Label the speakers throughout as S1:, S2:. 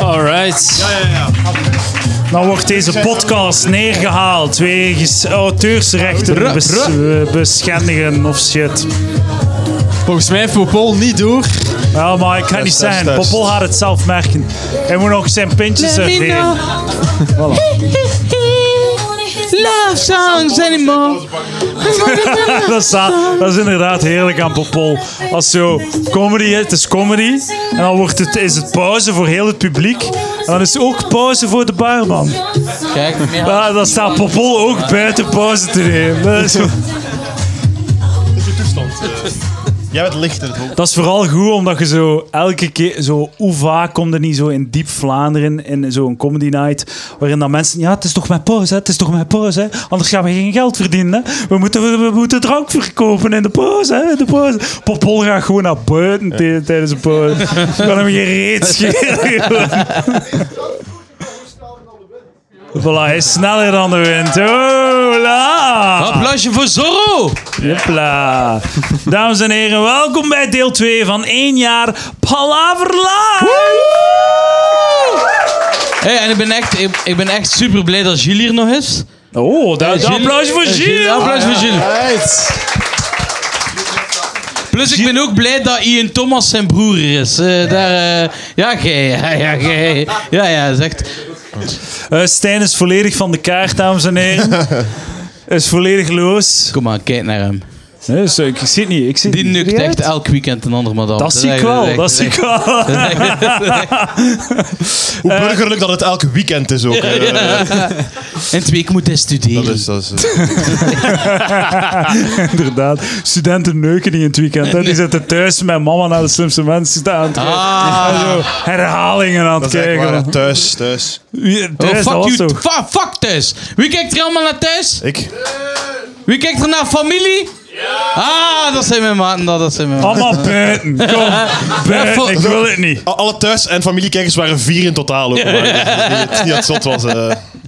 S1: Right.
S2: Dan wordt deze podcast neergehaald wegens auteursrechten bes- eh, beschendigen of shit.
S1: Volgens mij heeft Popol niet door.
S2: Ja, maar ik kan niet
S3: test,
S2: zijn.
S3: test.
S2: Popol gaat het zelf merken. Hij moet nog zijn pintjes serveren.
S1: Love songs anymore.
S2: dat, staat, dat is inderdaad heerlijk aan Popol. Als zo comedy, het is comedy. En dan wordt het, is het pauze voor heel het publiek. En dan is het ook pauze voor de barman.
S1: Kijk,
S2: Ja, dan staat Popol ook buiten pauze te nemen. Dat is,
S3: Jij bent lichter. hoor.
S2: dat is vooral goed omdat je zo elke keer, zo, hoe vaak komt er niet zo in diep Vlaanderen in zo'n comedy night. Waarin dan mensen, ja, het is toch mijn pauze, hè, het is toch mijn pauze. Hè? Anders gaan we geen geld verdienen. Hè? We, moeten, we, we moeten drank verkopen in de pauze. Hè? in De pauze. Popol gaat gewoon naar buiten t- tijdens de pauze. Ik kan hem geen reet schelen. Voilà, hij is sneller dan de wind. Hola!
S1: Applausje voor Zorro.
S2: Jepla. Dames en heren, welkom bij deel 2 van 1 jaar Palaver Live.
S1: Hey, en ik ben, echt, ik, ik ben echt super blij dat Gilles hier nog is.
S2: Oh, dat is
S1: Gilles-
S2: applaus voor
S1: eh,
S2: Gilles.
S1: Applaus voor Gilles.
S3: Right.
S1: Plus, ik ben ook blij dat Ian Thomas zijn broer hier is. Eh, daar, eh, ja, gij, ja, ja, gij. Ja, ja, zegt.
S2: Eh, Stijn is volledig van de kaart, dames en heren. is volledig los.
S1: Kom maar, kijk naar hem.
S2: Nee, zo, ik zie het niet. Ik zie het
S1: Die
S2: niet.
S1: nukt
S2: Zie je
S1: echt
S2: het?
S1: elk weekend een ander madame. eh,
S2: Dat zie ik wel, dat zie ik wel.
S3: Hoe burgerlijk dat het elke weekend is ook. hè.
S1: En twee, ik moet eens studeren.
S3: Dat is, dat is, eh,
S2: Inderdaad. Studenten neuken niet in het weekend. Hè. Die zitten thuis met mama naar de slimste mensen aan het
S1: Ah.
S2: kijken. En zo herhalingen aan het
S3: dat is echt
S2: kijken.
S3: waar, hè.
S2: man.
S3: Thuis, thuis.
S2: Wie-
S1: Oh,
S2: thuis, dat
S1: fuck
S2: was
S1: you.
S2: toch-
S1: Fa- fuck thuis. Wie kijkt er allemaal naar thuis?
S3: Ik?
S1: Wie kijkt er naar familie? Ah, dat zijn mijn maten. Dat, dat zijn mijn maten.
S2: Allemaal buiten. Kom, buiten. Ik wil het niet.
S3: A- Alle thuis- en familiekijkers waren vier in totaal. Ook, maar, eh, niet, niet dat het zot was. eh.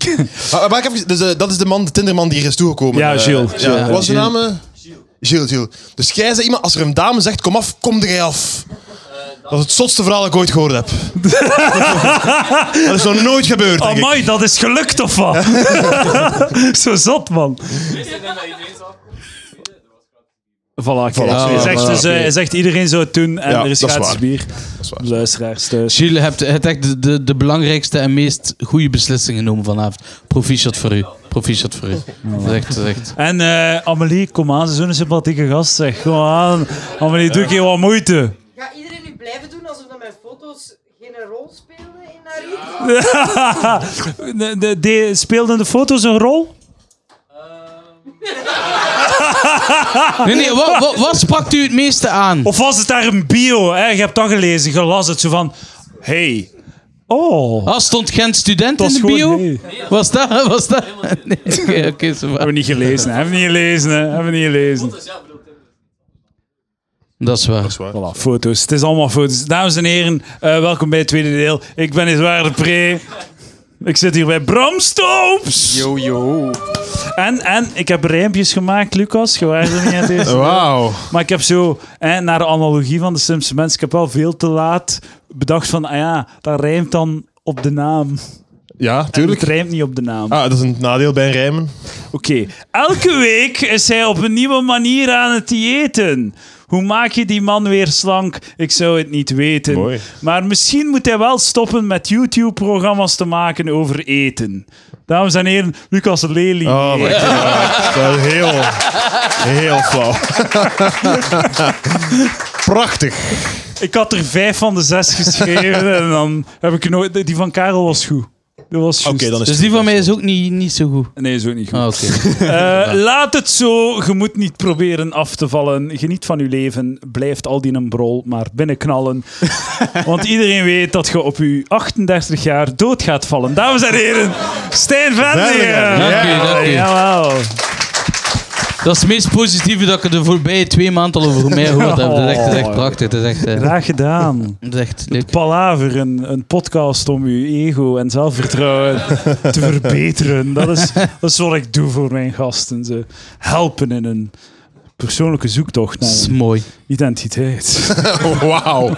S3: Maar, maar ik heb- dus, eh, dat is de man, de Tinderman die hier is toegekomen.
S2: Ja,
S3: eh.
S2: Gilles.
S3: Ja,
S2: Gilles.
S3: wat was zijn naam? eh? Gilles, Gilles. Dus jij zei iemand, als er een dame zegt, kom af, kom er jij af. Dat is het zotste verhaal dat ik ooit gehoord heb. dat is nog nooit gebeurd, denk ik.
S2: Amai, dat is gelukt of wat? Zo zot, man. Voilà, kijk.
S3: Voilà,
S2: hij,
S3: voilà,
S2: zegt,
S3: voilà.
S2: dus, eh, hij zegt iedereen zou het doen en
S3: Ja,
S2: er is
S3: dat is
S2: gratis
S3: waar.
S2: bier.
S3: is waar.
S2: Luisteraars thuis.
S1: Gilles, Dus hebt, hebt echt de, de, de belangrijkste en meest goede beslissing genomen vanavond. Proficiat voor u. Proficiat voor u. Dat is echt, dat is echt.
S2: En eh, Amelie, kom aan, ze is zo'n sympathieke gast. Zeg. Kom aan. Amelie, doe ik hier wat moeite.
S4: Gaat iedereen nu blijven doen alsof dat mijn foto's geen rol speelden in haar iets?
S2: De, de, de- speelden de foto's een rol?
S1: Nee, nee, wat, wat, wat sprak u het meeste aan?
S2: Ah. Of was het daar een bio? Hè? Je hebt dat gelezen, je las het zo van... Hey. Oh.
S1: Ah, stond Gent student
S2: Dat
S1: in
S2: is
S1: de
S2: gewoon-
S1: bio?
S2: nee.
S1: Was dat? Was dat? Nee, oké, oké, zo waar.
S2: Hebben we niet gelezen, hè? hebben we niet gelezen, hè? hebben we niet gelezen.
S1: Dat is waar.
S2: Voilà, foto's. Het is allemaal foto's. Dames en heren, eh, welkom bij het tweede deel. Ik ben Edouard de Pre. Ik zit hier bij Bram Stoops. Yo, yo. En, en ik heb rijmpjes gemaakt, Lucas. Je waren er niet aan het eerste.
S3: Wauw.
S2: Maar ik heb zo, hè, naar de analogie van de Simpsons mensen, ik heb wel veel te laat bedacht van, ah ja, dat rijmt dan op de naam.
S3: Ja,
S2: Het
S3: tuurlijk.
S2: rijmt niet op de naam.
S3: Ah, dat is een nadeel bij rijmen.
S2: Oké, elke week is hij op een nieuwe manier aan het diëten. Hoe maak je die man weer slank? Ik zou het niet weten.
S3: Mooi.
S2: Maar misschien moet hij wel stoppen met YouTube-programma's te maken over eten. Dames en heren, Lucas Lely.
S3: Oh my god. Dat is heel, heel flauw. Prachtig.
S2: Ik had er vijf van de zes geschreven en dan heb ik nooit... Die van Karel was goed. Dat was juist.
S3: Oké, dan is
S1: Dus die van mij is ook niet, niet zo goed.
S2: Nee, zo niet goed.
S1: Ah, oké.
S2: Eh, laat het zo. Je moet niet proberen af te vallen. Geniet van uw leven. Blijft al die een brol maar binnenknallen. Want iedereen weet dat je op je 38 jaar dood gaat vallen. Dames en heren, Stijn Vendingen.
S3: Vendingen.
S1: Dank u, dank u.
S2: Jawel.
S1: Dat is het meest positieve dat ik er de voorbije twee maanden al over mij gehoord heb. Dat is echt, dat is echt
S2: Oh.
S1: prachtig. Dat is echt, eh,
S2: Graag gedaan.
S1: dat is echt leuk.
S2: Palaver, een, een podcast om uw ego en zelfvertrouwen te verbeteren. Dat is, dat is wat ik doe voor mijn gasten. Ze helpen in een persoonlijke zoektocht naar
S1: Dat is
S2: een
S1: mooi.
S2: identiteit.
S3: Wauw.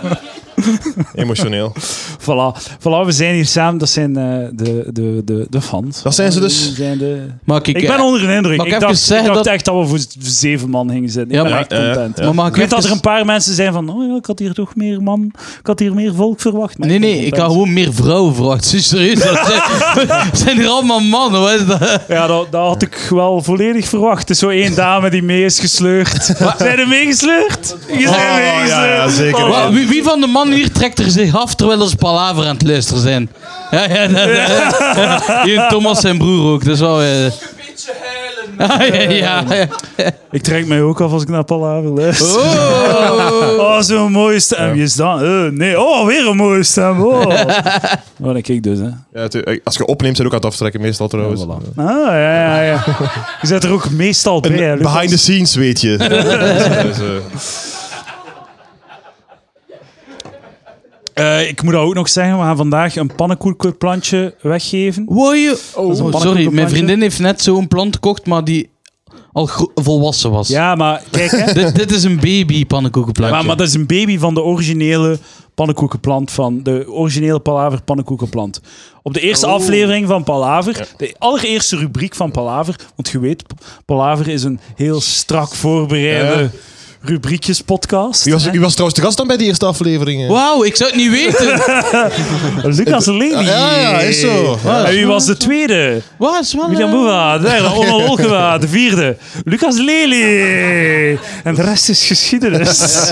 S3: Emotioneel.
S2: Voilà. voilà, we zijn hier samen. Dat zijn eh, de, de, de, de fans.
S3: Dat zijn ze dus.
S2: Die zijn de-
S1: Mag ik,
S2: Ik ben
S1: eh,
S2: onder de indruk.
S1: mag ik
S2: Ik
S1: even
S2: dacht, ik
S1: zeggen
S2: dacht
S1: dat-
S2: echt dat we voor z- zeven man gingen zitten.
S1: Ja,
S2: ik ben
S1: maar-
S2: echt
S3: ja, ja,
S2: content.
S1: maar mag
S2: Ik
S1: ik
S2: weet dat er
S1: even-
S2: een paar mensen zijn van, oh ja, ik had hier toch meer man, ik had hier meer volk verwacht. maar
S1: Nee,
S2: ben
S1: nee, ik
S2: content.
S1: had gewoon meer vrouwen verwacht. Zie je, Serieus, dat zijn, zijn er allemaal mannen. Wat is dat?
S2: Ja, dat, dat had ik wel volledig verwacht. Het is zo één dame die mee is gesleurd. Zijn er meegesleurd? Je
S3: Oh,
S2: zijn
S3: ja,
S2: meegesleurd.
S3: ja, zeker.
S2: Oh,
S1: Wa- Wie, wie van de mannen hier trekt er zich af terwijl ze palaver aan het luisteren zijn? Ja, ja, dat, dat- Hier, Thomas zijn broer ook, dat is wel... eh, Ah, ja, ja, ja.
S2: Ik trek mij ook af als ik naar Palaver luister.
S1: Oh.
S2: Oh, zo'n mooie stem. Je is dan. eh, nee, oh, weer een mooie stem. Oh. oh dat kijk dus, hè.
S3: Ja, tu- als je opnemt, zijn ook aan het aftrekken meestal trouwens.
S2: Ah, ja, ja, ja. Je zit er ook meestal bij, hè,
S3: Een
S2: Lucas.
S3: behind the scenes, weet je. Dus, eh,
S2: Eh, ik moet dat ook nog zeggen. We gaan vandaag een pannenkoekenplantje weggeven.
S1: Wou je-
S2: een
S1: Oh, sorry,
S2: pannenkoekenplantje.
S1: mijn vriendin heeft net zo'n plant gekocht, maar die al gro- volwassen was.
S2: Ja, maar kijk, hè.
S1: Dit, dit is een baby pannenkoekenplantje.
S2: Maar, maar dat is een baby van de originele pannenkoekenplant van de originele Palaver pannenkoekenplant. Op de
S3: Oh.
S2: eerste aflevering van Palaver, de allereerste rubriek van Palaver, want je weet, P- Palaver is een heel strak voorbereide
S3: Ja.
S2: rubriekjespodcast.
S3: Wie was, wie was trouwens de gast dan bij die eerste aflevering? eh?
S1: Wauw, ik zou het niet weten.
S2: Lucas Lely.
S3: Ja, ja, is zo. Ja.
S2: En wie was de tweede?
S1: Wat is wel...
S2: William
S1: eh,
S2: Boeva, de derde, Onno Wolkema, de vierde. Lucas Lely. En de rest is geschiedenis.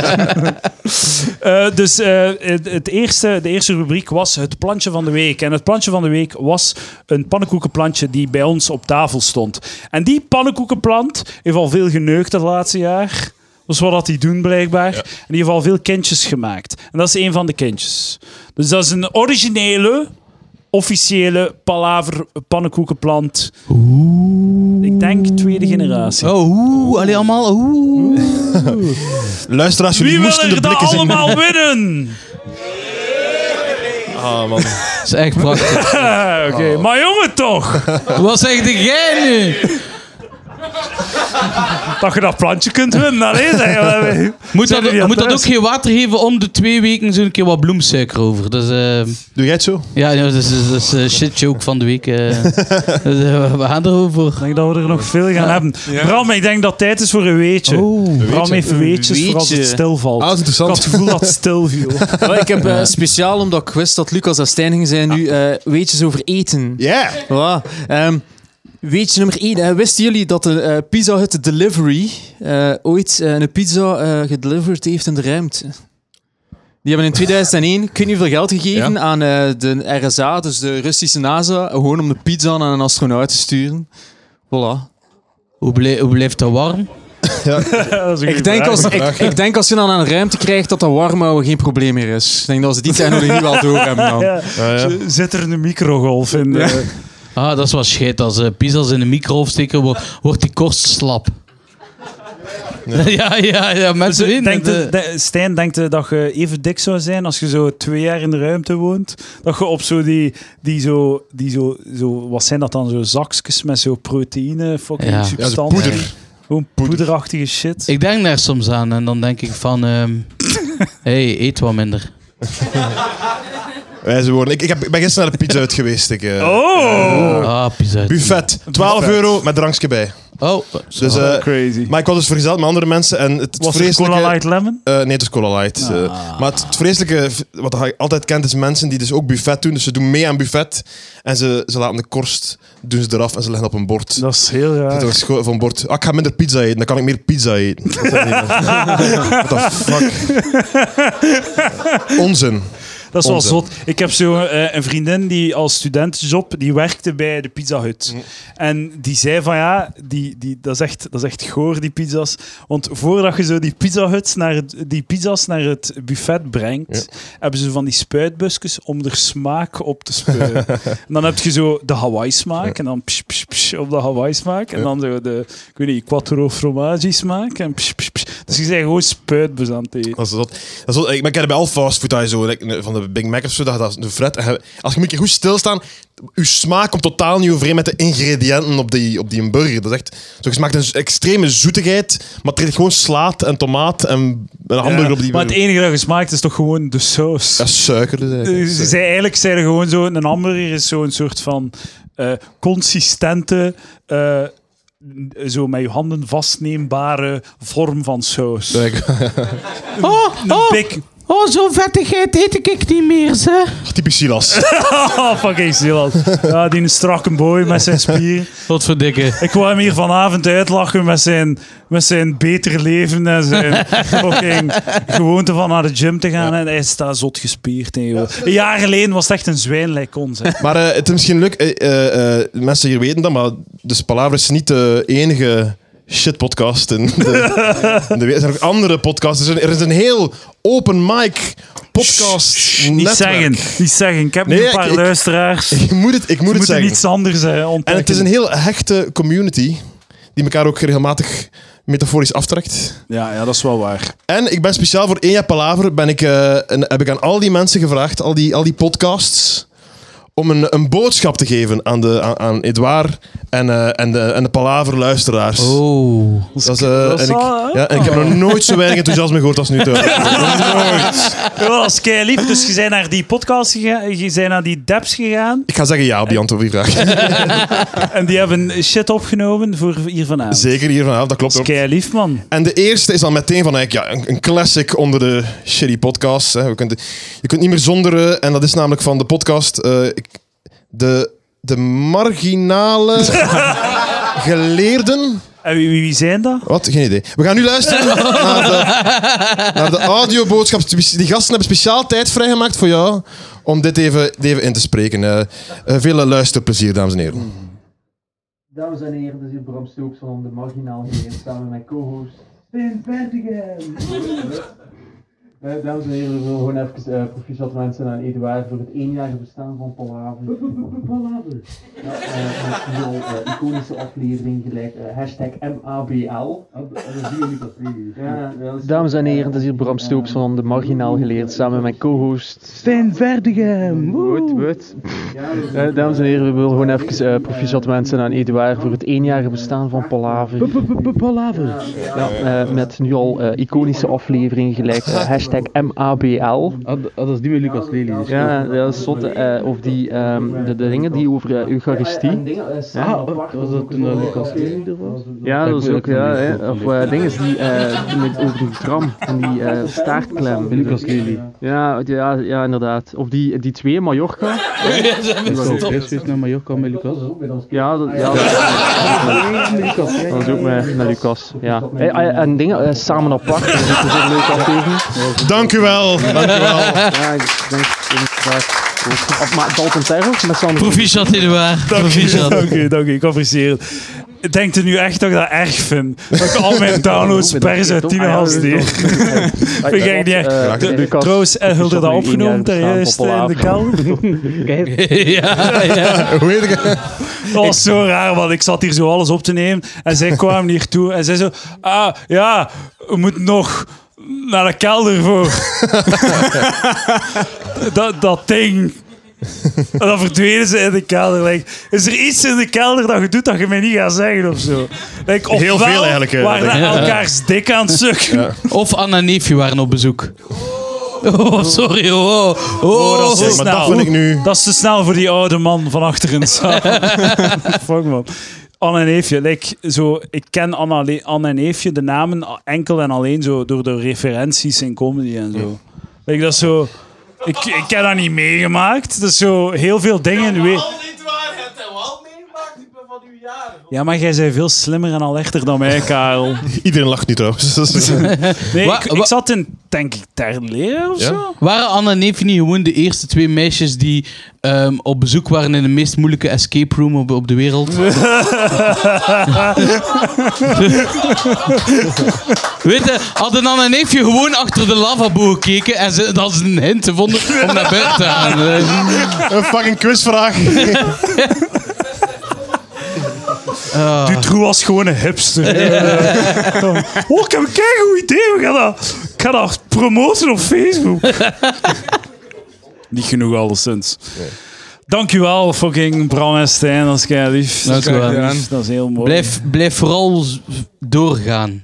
S2: Eh, dus eh, het, het eerste, de eerste rubriek was het plantje van de week. En het plantje van de week was een pannenkoekenplantje die bij ons op tafel stond. En die pannenkoekenplant heeft al veel geneukt het laatste jaar. Dat is wat dat die doen blijkbaar. En die heeft al veel kindjes gemaakt. En dat is een van de kindjes. Dus dat is een originele officiële palaver pannenkoekenplant. Ik denk tweede generatie.
S1: Oh, oeh, allee, allemaal oeh.
S3: Luisteraars, jullie
S2: Wie wil
S3: moesten de
S2: er dat
S3: blikken zien.
S2: allemaal winnen?
S3: Ah, man.
S1: Dat is echt prachtig.
S2: Ah, Oké,
S1: Oh.
S2: maar jongen toch!
S1: Wat zeg jij nu?
S2: Dat je dat plantje kunt winnen, alleen zeg
S1: Moet dat,
S2: jullie aan
S1: moet dat ook
S2: thuis?
S1: geen water geven om de twee weken zo'n keer wat bloemsuiker over. Dat is, eh,
S3: Doe jij het zo?
S1: ja, ja, dat is, dat is eh, shit joke van de week. eh. Dus, eh, we gaan erover.
S2: Ik denk dat we er nog veel gaan hebben. Bram, ik denk dat het tijd is voor een weetje.
S1: Oh.
S2: Bram heeft weetjes voor als het
S5: Weetje.
S2: stilvalt.
S3: Ah, dat is
S2: ik had het
S3: interessant.
S2: gevoel dat het stil viel.
S5: Maar ik heb eh, speciaal, omdat ik wist dat Lucas en Stijn gingen zijn, nu eh, weetjes over eten.
S3: Ja.
S5: Voilà. Ehm, weetje nummer 1. wisten jullie dat de eh, Pizza Hut Delivery eh, ooit eh, een pizza eh, gedeliverd heeft in de ruimte? Die hebben in 2001 ik weet niet hoeveel geld gegeven
S3: Ja.
S5: aan eh, de RSA, dus de Russische NASA, gewoon om de pizza aan een astronaut te sturen. Voilà.
S1: Hoe, blij- hoe blijft dat warm?
S2: Dat is een
S5: Ik
S2: goede
S5: denk,
S2: vraag.
S5: als, ik, ik denk als je dan aan een ruimte krijgt, dat dat warm houden geen probleem meer is. Ik denk dat ze die technologie wel door hebben dan.
S2: Ja. Z- Zit er een microgolf in? eh?
S1: Ah, dat is wel shit. Als eh pizza's in de microgolf steken, wo- wordt die korst slap. Ja, ja, ja, mensen
S2: Dus,
S1: weten
S2: denkt
S1: het,
S2: de- de- Stijn, denkt eh, dat je even dik zou zijn als je zo twee jaar in de ruimte woont? Dat je op zo die, die, zo, die zo, zo, wat zijn dat dan, zo zakjes met zo proteïne, fucking
S1: Ja. Ja, zo
S2: substantie.
S3: poeder.
S2: Gewoon poederachtige shit.
S1: eh. Ik denk daar soms aan en dan denk ik van... ehm, hey, eet wat minder.
S3: Wijze woorden. Ik, ik, heb, ik ben gisteren naar de Pizza Hut geweest. Ik, eh,
S2: Oh!
S1: Ah, pizza.
S3: Buffet. 12
S2: Buffet.
S3: euro met drankje bij.
S1: Oh,
S3: Dus, eh,
S2: Crazy.
S3: maar ik was dus vergezeld met andere mensen. En het, het
S2: Was er
S3: vreselijke...
S2: Cola Light Lemon?
S3: Eh, nee, het is Cola Light. Eh, maar het, het vreselijke, v- wat je altijd kent, is mensen die dus ook buffet doen. Dus ze doen mee aan buffet. En ze, ze laten de korst, doen ze eraf en ze leggen op een bord.
S2: Dat is heel
S3: Dat
S2: raar.
S3: is gewoon van bord. Ah, ik ga minder pizza eten, dan kan ik meer pizza eten. What the fuck? Onzin.
S2: Dat is wel
S3: Onzin.
S2: zot. Ik heb zo eh, een vriendin die als studentjob, die werkte bij de Pizza Hut. En die zei van ja, die, die, dat, is echt, dat is echt goor, die pizza's. Want voordat je zo die, pizza Huts naar het, die pizza's naar het buffet brengt, hebben ze van die spuitbusjes om er smaak op te spuiten. en dan heb je zo de Hawaii-smaak en dan psh, psh, psh, op de Hawaii-smaak. En dan zo de, ik weet niet, quattro fromaggi-smaak. En psh, psh, psh. Dus je zijn gewoon spuitbus aan het eten.
S3: Dat is, dat, dat is, zot. ik, maar ik heb bij al fastfood daar zo, like, van de de Big Mac of zo, dat, dat is de fret. En je- als je moet een keer goed stilstaan, je smaak komt totaal niet overeen met de ingrediënten op die, op die burger. Dat is echt, zo, je smaakt een z- extreme zoetigheid, maar er zit gewoon slaat en tomaat en een hamburger op die
S2: maar het e-
S3: burger.
S2: enige dat je smaakt is toch gewoon de saus.
S3: Ja, suiker dus
S2: Eh,
S3: eigenlijk.
S2: Ze zei eigenlijk zeiden gewoon zo: een hamburger is zo'n soort van eh, consistente, eh, n- zo met je handen vastneembare vorm van saus.
S3: Ja, ik-
S1: Oh, oh,
S2: Big
S1: oh zo'n vettigheid eet ik, ik niet meer, ze.
S3: Typisch Silas.
S2: Oh, fucking Silas. Ja, die strakke boy met zijn spieren.
S1: Wat voor dikke.
S2: Ik wou hem hier vanavond uitlachen met zijn, met zijn beter leven en zijn fucking gewoonte van naar de gym te gaan. En hij staat zot gespierd. hè, joh. Een jaar geleden was het echt een zwijn like ons. Hè.
S3: Maar eh, het is misschien leuk, eh, eh, eh, mensen hier weten dat, maar dus Palaver is niet de enige shitpodcast in de, in de wereld. Er zijn ook andere podcasts. Er is een, er is een heel open mic podcast
S2: Niet
S3: netwerk.
S2: zeggen, niet zeggen. Ik heb nu
S3: Nee,
S2: een paar
S3: ik- ik-
S2: luisteraars.
S3: Ik moet het, ik moet
S2: Ze
S3: het
S2: moeten
S3: zeggen.
S2: iets anders hè,
S3: En
S2: ontdekken.
S3: het is een heel hechte community die elkaar ook regelmatig metaforisch aftrekt.
S2: ja, ja, dat is wel waar.
S3: En ik ben speciaal voor één jaar Palaver ben ik, eh, en heb ik aan al die mensen gevraagd, al die, al die podcasts, om een, een boodschap te geven aan, de, aan, aan Edouard en, eh, en de, en de Palaver luisteraars.
S1: Oh.
S3: Dat is, eh, en ik,
S2: wel-
S3: ja, en ik heb nog nooit zo weinig enthousiasme gehoord als nu. Te, nooit.
S2: Ja, dat is kei lief. Dus je bent naar die podcast gegaan, je bent naar die deps gegaan.
S3: Ik ga zeggen ja op die antwoord op die vraag.
S2: En die hebben shit opgenomen voor hier vanavond.
S3: Zeker hier vanavond, dat klopt.
S2: Dat is
S3: hoor.
S2: kei lief, man.
S3: En de eerste is dan meteen van eigenlijk, ja, een, een classic onder de shitty podcasts. Hè. We kunt, je kunt niet meer zonder, eh, en dat is namelijk van de podcast, eh, ik, de, de marginale geleerden.
S2: En wie, wie- wie zijn dat?
S3: Wat? Geen idee. We gaan nu luisteren naar de, naar de audioboodschap. Die gasten hebben speciaal tijd vrijgemaakt voor jou om dit even, even in te spreken. Eh, eh, veel eh, luisterplezier, dames en heren.
S6: Dames en heren, dit is uw Bram Stoops van de Marginaal Geweer samen met mijn co-host Stijn Bertigem. Eh, Dames en heren, we willen gewoon even eh proficiat wensen aan Eduard voor het eenjarige bestaan van Palaver. Palaver! Ja, eh, een heel eh, iconische aflevering gelijk eh, hashtag MABL. Ja, ja, dat is-
S7: Dames en heren, dit is hier Bram Stoops van de Marginaal geleerd samen met mijn co-host Stijn Verdegem. Goed, goed. Eh, dames en heren, we willen gewoon even eh proficiat wensen aan Eduard voor het eenjarige bestaan van Palaver. Palaver. Ja, eh, met nu al eh, iconische afleveringen gelijk eh, hashtag MABL.
S6: dat is die met Lucas Lely. Dus
S7: Ja, ja, dat is zot. eh, of die ehm, de, de dingen die over eh, Eucharistie.
S6: ja, was Ah, dat toen dat Lucas Lely er was?
S7: Ja, dat is ook, ja. hè. Of eh, dingen die eh, met, over die tram en die eh, staartklem.
S6: Lucas Lely.
S7: Ja, ja, ja, inderdaad. Of die, die twee, Mallorca.
S6: Ik ben eerst geweest naar Mallorca met Lucas.
S7: Ja, dat, ja, dat, dat is ook met, met Lucas. Ja. Eh, ah, ja, En dingen eh, samen apart. Dat is ook een leuke aflevering.
S3: Dank u wel. Dank u wel.
S7: Ja, ik denk dat ik graag. Of maar Dalton Terror met Sander.
S1: Proficiat, Eduard. Proficiat.
S2: Dank u, dank u. Ik apprecieer het. Denkt u nu echt dat ik dat erg vind? Dat ik al mijn downloads per
S7: Ah,
S2: zetine als die. Vind ik echt niet erg. Trouwens, eh, Hulde dat opgenomen juist eh, in de kelder.
S1: ja, ja.
S3: Hoe heet ik?
S2: Dat was zo raar, want ik zat hier zo alles op te nemen. En zij kwamen hier toe en zei zo... Ah, ja, we moeten nog naar de kelder voor. dat, dat ding. En dan verdwenen ze in de kelder. Like, is er iets in de kelder dat je doet dat je mij niet gaat zeggen of zo? Like,
S3: Heel
S2: ofwel
S3: veel eigenlijk, eh,
S2: waren
S3: denk ik.
S2: we elkaars dik aan het sukken.
S1: Of Anna en Neefje waren op bezoek. Oh, sorry. Oh, oh.
S2: dat is
S3: Zeg, maar dat
S2: snel.
S3: vind ik nu...
S2: Dat is te snel voor die oude man van achter in de zaal. Fuck man. Anne en Eefje, like, zo, ik ken Anne, alle- Anne en Eefje, de namen a- enkel en alleen zo, door de referenties in comedy en zo. Like, dat is zo, ik, ik heb dat niet meegemaakt. Dat is zo heel veel dingen. we-
S4: niet waar, het heb wel meegemaakt, ik ben van uw jaren.
S2: Ja, maar jij bent veel slimmer en alerter dan mij, Karel.
S3: Iedereen lacht nu trouwens. Dat is-
S2: Nee,
S1: Wa-
S2: ik, ik
S1: wa-
S2: zat in, denk ik, ter leer of
S3: Ja?
S2: zo.
S1: Waren Anne en Neefje niet gewoon de eerste twee meisjes die ehm, op bezoek waren in de meest moeilijke escape room op, op de wereld? Weet je, hadden Anne en Neefje gewoon achter de lavabo gekeken en ze, dat ze een hint vonden om naar buiten te gaan. Eh,
S3: Een fucking quizvraag.
S2: Dutroux was gewoon een hipster. oh, ik heb een keigoed idee. We gaan dat, ik ga dat promoten op Facebook. Niet genoeg alleszins. Dankjewel, fucking Bram en Stijn. Dat is kei lief.
S1: Dank u wel.
S2: Dat is heel mooi.
S1: Blijf, blijf vooral z- doorgaan.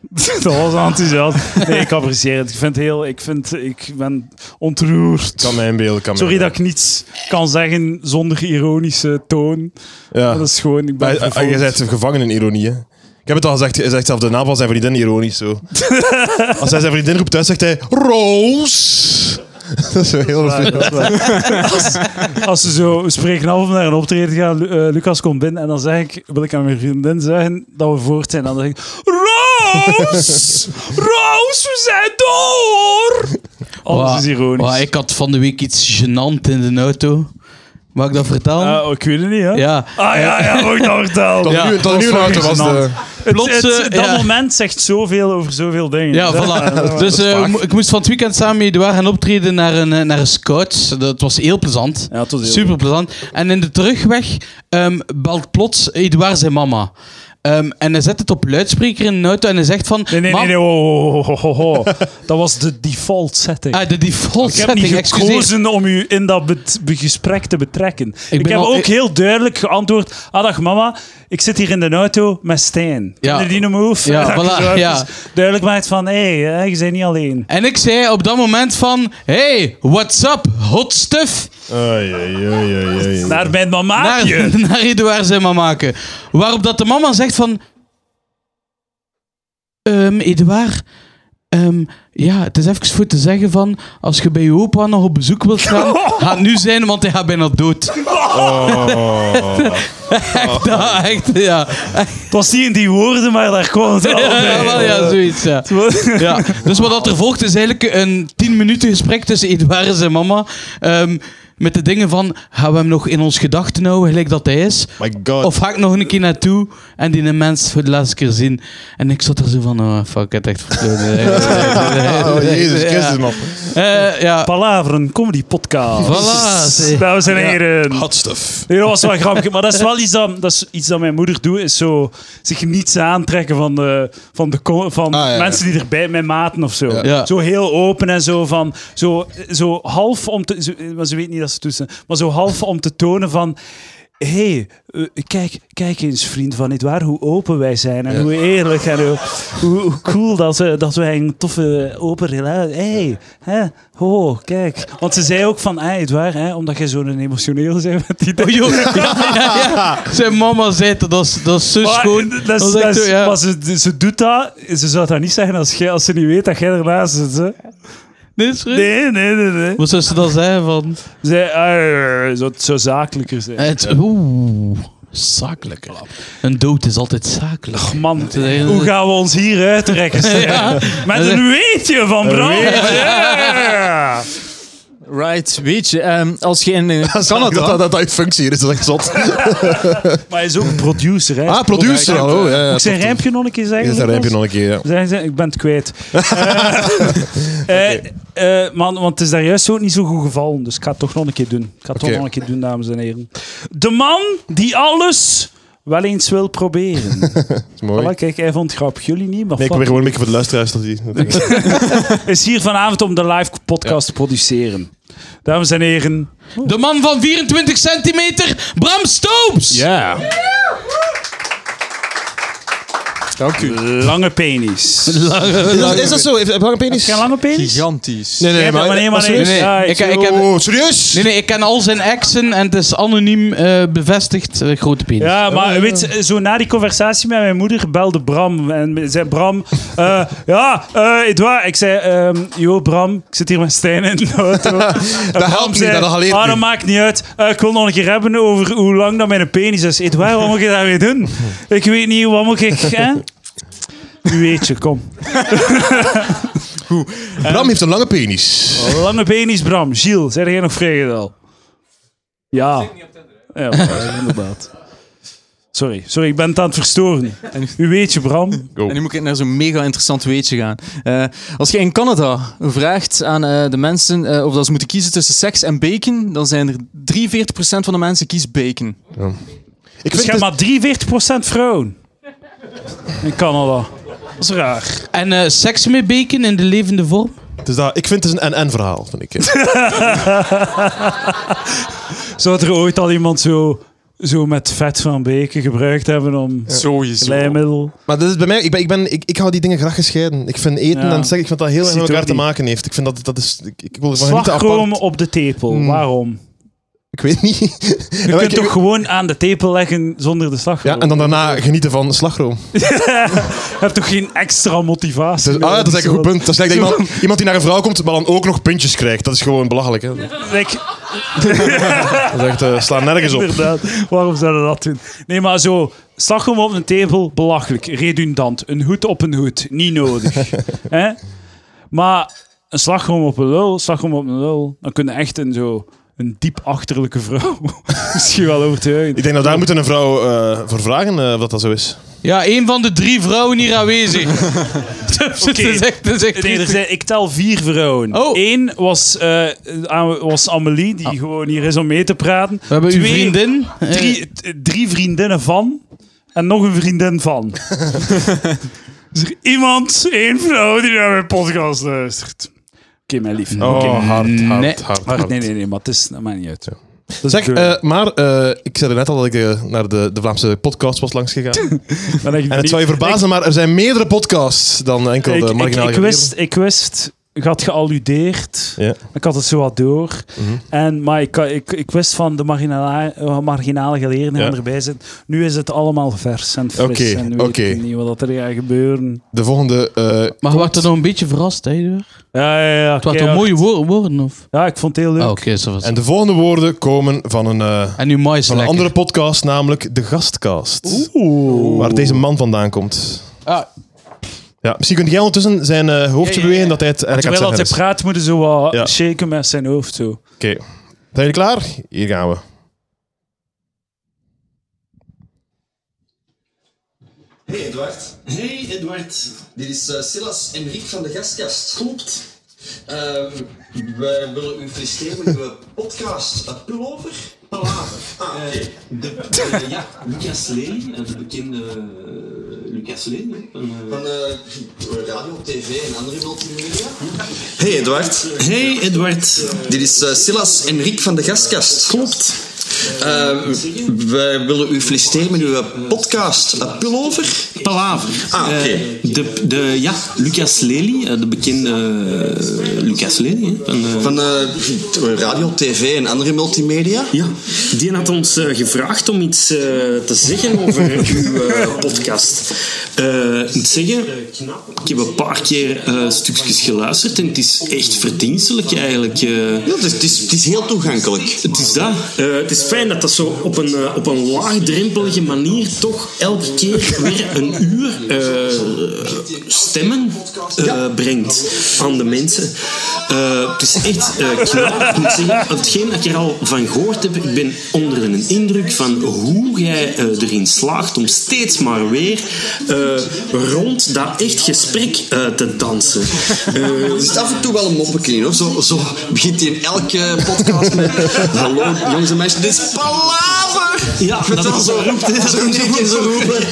S2: dat was enthousiast. Nee, ik apprecieer het. Ik vind het heel... Ik, vind, ik ben ontroerd.
S3: Kan mijn beeld, kan
S2: Sorry
S3: mijn
S2: dat ik niets kan zeggen zonder ironische toon.
S3: Ja.
S2: Dat is gewoon... Ik ben
S3: Maar, eh,
S2: vervolgd.
S3: je bent gevangen in ironie, hè. Ik heb het al gezegd, hij zegt zelf de naam van zijn vriendin ironisch zo. Als hij zijn vriendin roept thuis, zegt hij Roos. Dat is wel heel veel.
S2: Als ze zo we spreken af om naar een optreden te gaan, Lu- eh, Lucas komt binnen en dan zeg ik, wil ik aan mijn vriendin zeggen dat we voort zijn. En dan zeg ik, Roos! Roos, we zijn door! Alles
S1: Wa-
S2: is ironisch.
S1: wa- ik had van de week iets gênant in de auto. Mag ik dat vertellen?
S2: Ah, ik weet het niet, hè?
S1: ja.
S2: Ah ja, ja, moet ik dat vertellen.
S3: Tot
S1: Ja,
S3: nu, tot
S2: dat
S3: nu
S2: was
S3: een auto was
S2: fucking
S3: de...
S2: Het-
S1: Plots,
S2: het-
S1: eh,
S2: dat
S1: ja.
S2: moment zegt zoveel over zoveel dingen.
S1: Ja, voilà. Dus eh,
S3: vaak.
S1: ik mo- ik moest van het weekend samen met Edouard gaan optreden naar een, eh, naar een scout. Dat was heel plezant.
S2: Ja, het was heel
S1: Super plezant. En in de terugweg ehm, belt plots Edouard zijn mama. Ehm, en hij zet het op luidspreker in de auto en hij zegt van...
S2: Nee, nee,
S1: "Mam-
S2: nee, nee, ho, ho, ho, ho, ho. Dat was de default setting.
S1: Ah, de default
S2: Ik heb niet
S1: setting, excuseer.
S2: gekozen om u in dat bet- be- gesprek te betrekken. Ik,
S1: ben
S2: heb
S1: al-
S2: ook
S1: ik-
S2: heel duidelijk geantwoord. Ah, dag mama, ik zit hier in de auto met Stijn.
S1: Ja.
S2: Ja. die een move?
S1: Ja,
S2: Dat
S1: voilà,
S2: je zo
S1: ja.
S2: even Duidelijk maakt van, hé, hey, hè, je bent niet alleen.
S1: En ik zei op dat moment van... Hey, what's up, hot stuff?
S3: Oei, oei, oei, oei, oei.
S2: Naar mijn
S1: Naar,
S2: mamaatje.
S1: naar Eduard zijn mama maken. Waarop dat de mama zegt van... Ehm Eduard... ehm, ja, het is even voor te zeggen van... Als je bij je opa nog op bezoek wilt gaan... Ga het nu zijn, want hij gaat bijna dood. echt, ja, echt, ja.
S2: Het was niet in die woorden, maar daar kwam het wel bij.
S1: Ja, wel, ja, zoiets, ja. ja. Dus wat dat er volgt is eigenlijk een 10 minuten gesprek tussen Edouard en zijn mama. ehm, met de dingen van, gaan we hem nog in ons gedachten houden, gelijk dat hij is?
S3: My god.
S1: Of ga ik nog een keer naartoe en die een mens voor de laatste keer zien? En ik zat er zo van, oh fuck, het echt
S3: Oh,
S1: verkleurd.
S3: Jezus Christus, man.
S1: Eh, ja,
S2: Palaveren, comedy podcast.
S1: Voilà, zeg.
S2: Dames en heren.
S3: Hot stuff.
S2: Nee, dat was wel grappig. Maar dat is wel iets dat, dat, is iets dat mijn moeder doet. Is zo zich niets aantrekken van de, van de co- van
S3: Ah, ja, ja.
S2: mensen die erbij mijn maten of zo.
S1: Ja.
S2: Zo heel open en zo van. Zo, zo half om te. Zo, maar ze weet niet dat ze toestaan. Maar zo half om te tonen van. Hé, hey, eh, kijk, kijk eens, vriend van Edouard, hoe open wij zijn en hoe eerlijk en hoe, hoe, hoe cool dat, eh, dat wij een toffe open relatie... Hé, hey, ho, kijk. Want ze zei ook van, hey, Edouard, hè, omdat jij zo'n emotioneel bent met die
S1: Oh,
S2: dingen.
S1: Zijn mama zei dat, dat is, dat is zo
S2: Maar,
S1: schoon.
S2: dat is-
S1: Dat is
S2: dat
S1: echt
S2: is-
S1: zo, ja.
S2: maar ze, ze doet dat. Ze zou dat niet zeggen als, jij- als ze niet weet dat jij ernaast zit. Hè?
S1: Nee, is goed.
S2: Nee, nee, nee. nee.
S1: Wat zou ze dan zeggen van...
S2: Zij, "Arr," zou, het zou eh, zakelijker zijn.
S3: Eh,
S1: Het, oeh, zakelijk. Een dood is altijd zakelijk.
S2: Man,
S1: is-
S2: hoe gaan we ons hier uitrekken? Stijn? Met een weetje van Bram. Ja.
S5: Right, weet je, ehm, als je in eh,
S3: Dat dat
S5: Canada...
S3: dat, dat uit functie hier is, dat is echt zot.
S2: Maar hij is ook een producer. Hè.
S3: Ah, producer, hallo. Ja, ja.
S2: Moet Oh, ik zijn rijmpje nog een keer zeggen?
S3: Is dat
S2: Lucas?
S3: rijmpje nog een keer, ja.
S2: Zeggen ze, ik ben het kwijt. Eh, eh, eh, man, want het is daar juist ook niet zo goed gevallen. Dus ik ga het toch nog een keer doen. Ik ga het toch
S3: Oké.
S2: nog een keer doen, dames en heren. De man die alles wel eens wil proberen.
S3: Dat is mooi.
S2: voilà, kijk, hij vond het grappig. Jullie niet, maar
S3: Nee, ik
S2: fuck
S3: probeer gewoon een beetje voor de luisteraars te zien.
S2: it. is hier vanavond om de live podcast te produceren. Dames en heren.
S1: De man van 24 centimeter, Bram Stoops!
S3: Ja.
S5: Dank u.
S2: Lange penis.
S3: Is dat, is dat zo? Heeft- Heb je een penis?
S2: Geen lange penis?
S5: Gigantisch.
S3: Nee, nee,
S2: Ja,
S3: maar...
S2: maar nee, maar
S3: maar-
S2: nee.
S1: Nee,
S2: Ja,
S1: nee, ik, ik heb,
S3: Oh, serieus?
S1: nee, nee, ik ken al zijn exen en het is anoniem eh, bevestigd. eh, grote penis.
S2: Ja, maar weet je, zo na die conversatie met mijn moeder belde Bram. En zei Bram, eh, ja, eh Edouard. Ik zei, ehm yo Bram, ik zit hier met Stijn in de auto. En Bram
S3: helpt niet, dat alleen
S2: ah, dat
S3: niet."
S2: maakt niet uit. Eh, ik wil nog een keer hebben over hoe lang dat mijn penis is. Edouard, wat moet je daarmee doen? Ik weet niet, wat moet ik, hè? Nu weet je, kom.
S3: Bram heeft een lange penis.
S2: Lange penis, Bram. Gilles, zijn jij nog vrijgezel? Ja. Ja, maar, eh, inderdaad. Sorry, sorry, ik ben het aan het verstoren. U weet je, Bram.
S5: En nu moet ik naar zo'n mega interessant weetje gaan. Eh, als je in Canada vraagt aan eh, de mensen eh, of dat ze moeten kiezen tussen seks en bacon, dan zijn er 43% van de mensen kies bacon.
S3: Ik
S2: Dus
S3: vind
S2: je
S3: het...
S2: hebt maar 43% vrouwen. In Canada. Dat is raar.
S1: En eh, seks met bacon in de levende vorm?
S3: Het is dat, ik vind het is een en-en verhaal, vind ik.
S2: Zou er ooit al iemand zo, zo met vet van beken gebruikt hebben om
S5: Sowieso.
S2: glijmiddel?
S3: Maar dat is bij mij, ik, ben, ik, ben, ik, ik hou die dingen graag gescheiden. Ik vind eten
S2: Ja.
S3: en seks, ik vind dat heel erg
S2: Ziet
S3: met elkaar
S2: ook
S3: te
S2: niet.
S3: maken heeft. Ik vind dat, dat is, ik, ik wil ervan genieten
S2: Slagroom
S3: apart.
S2: op de tepel,
S3: Mm.
S2: waarom?
S3: Ik weet niet. Ja,
S2: Je
S3: maar
S2: kunt
S3: ik-
S2: toch gewoon aan de tepel leggen zonder de slagroom?
S3: ja, en dan daarna genieten van slagroom.
S2: Je hebt toch geen extra motivatie?
S3: Dus, ah,
S2: nodig,
S3: dat is eigenlijk een
S2: zo
S3: goed punt. Dat is gelijk dat iemand, iemand die naar een vrouw komt, maar dan ook nog puntjes krijgt. Dat is gewoon belachelijk. Hè?
S2: dat- Like,
S3: Dat is echt, eh, slaan nergens op.
S2: Inderdaad, waarom zouden we dat doen? Nee, maar zo, slagroom op een tepel, belachelijk, redundant. Een hoed op een hoed, niet nodig. Hè? Maar een slagroom op een lul, slagroom op een lul, dan kunnen echt een zo... Een diep achterlijke vrouw. Misschien wel overtuigend.
S3: Ik denk dat daar moeten een vrouw eh, voor vragen eh, of dat, dat zo is.
S1: Ja, een van de drie vrouwen hier aanwezig. dat is echt, dat is echt
S2: Nee, er
S1: triestig.
S2: zijn, ik tel vier vrouwen.
S1: Oh.
S2: Eén was, eh, aan- was Amelie, die gewoon hier is om mee te praten.
S1: We hebben uw
S2: Twee-
S1: vriendin. eh,
S2: Drie, t- drie vriendinnen van en nog een vriendin van. is er iemand, één vrouw, die naar mijn podcast luistert? Oké, mijn lief.
S3: Oh,
S2: Oké.
S3: hard, hard,
S1: Nee.
S3: hard, hard.
S2: Maar nee, nee, nee, maar het is, dat maakt niet uit. Dat is
S3: Zeg,
S2: een
S3: eh, maar eh, ik zei er net al dat ik eh, naar de, de Vlaamse podcast was langsgegaan.
S2: kleur. Dan denk ik
S3: En het
S2: niet-
S3: zou je verbazen, maar er zijn meerdere podcasts dan enkel
S2: Ik,
S3: de
S2: ik, ik,
S3: marginale
S2: ik wist, ik wist, ik had gealludeerd.
S3: Ja. Mhm.
S2: Ik had het zo wat door. En, maar ik, ik, ik wist van de marginale, eh, marginale geleerden
S3: Ja.
S2: die erbij zitten. Nu is het allemaal vers en fris.
S3: Oké,
S2: en weet
S3: oké.
S2: ik niet wat er gaat gebeuren.
S3: De volgende... eh,
S1: Maar wordt er nog een beetje verrast, hè? Het
S2: Ja, ja, ja.
S1: was toch
S2: keihard.
S1: mooie woor- woorden, of?
S2: Ja, ik vond het heel leuk.
S1: Oh, oké, zo was het.
S3: en de volgende woorden komen van een, eh,
S1: En uw mais
S3: van een
S1: lekker.
S3: andere podcast, namelijk De Gastcast.
S2: Oeh.
S3: Waar deze man vandaan komt.
S1: Ah,
S3: Ja, misschien kunt jij ondertussen zijn eh, hoofdje
S1: Ja, ja, ja.
S3: bewegen dat hij het eigenlijk
S2: Terwijl
S3: aan
S2: dat
S3: het
S2: hij
S3: zeggen
S2: praat, moet hij zo wat
S3: Ja.
S2: shaken met zijn hoofd. Zo.
S3: is. Oké. Zijn jullie klaar? Hier gaan we.
S8: Hey Edward. Hey Edward. Dit is eh, Silas en Rick van de Gastkast. Klopt. Ehm wij willen u feliciteren met uw podcast eh, Pullover. Palaver. Ah, oké. de, eh, ja,
S9: Lucas Leen, eh, de bekende eh, Lucas Leen. hè, van, eh,
S8: van eh, radio, tv en andere multimedia. Hey Edward.
S9: Hey Edward.
S8: Dit is eh, Silas en Rick van de Gastkast. Klopt. wij willen u feliciteren met uw podcast eh, Pullover.
S9: Palaver.
S8: Ah, oké.
S9: Eh, de, de, ja, Lucas Lely, eh, de bekende eh, Lucas Lely. hè, van, eh,
S8: Van eh, radio, tv en andere multimedia.
S9: ja, die had ons eh, gevraagd om iets eh, te zeggen over uw eh, podcast. Eh, ik moet zeggen, ik heb een paar keer eh, stukjes geluisterd en het is echt verdienstelijk eigenlijk. eh.
S8: Ja, het, is, het, is, het is heel toegankelijk.
S9: Het is dat. Eh, het is fijn dat dat zo op een, eh, op een laagdrempelige manier toch elke keer weer een uur eh, stemmen eh, brengt aan de mensen. Eh, het is echt eh, knap. Ik moet zeggen, hetgeen dat ik er al van gehoord heb, ik ben onder een indruk van hoe jij eh, erin slaagt om steeds maar weer eh, rond dat echt gesprek eh, te dansen. Eh,
S8: Er zit af en toe wel een moppekin in, hoor. Zo, zo begint hij in elke podcast met... Hallo, jongens en meisjes, dit is palaver!
S9: Ja,
S8: Met
S9: dat
S8: dan
S9: is-
S8: zo roept hij,
S9: dat
S8: zo in één keer zo roepen.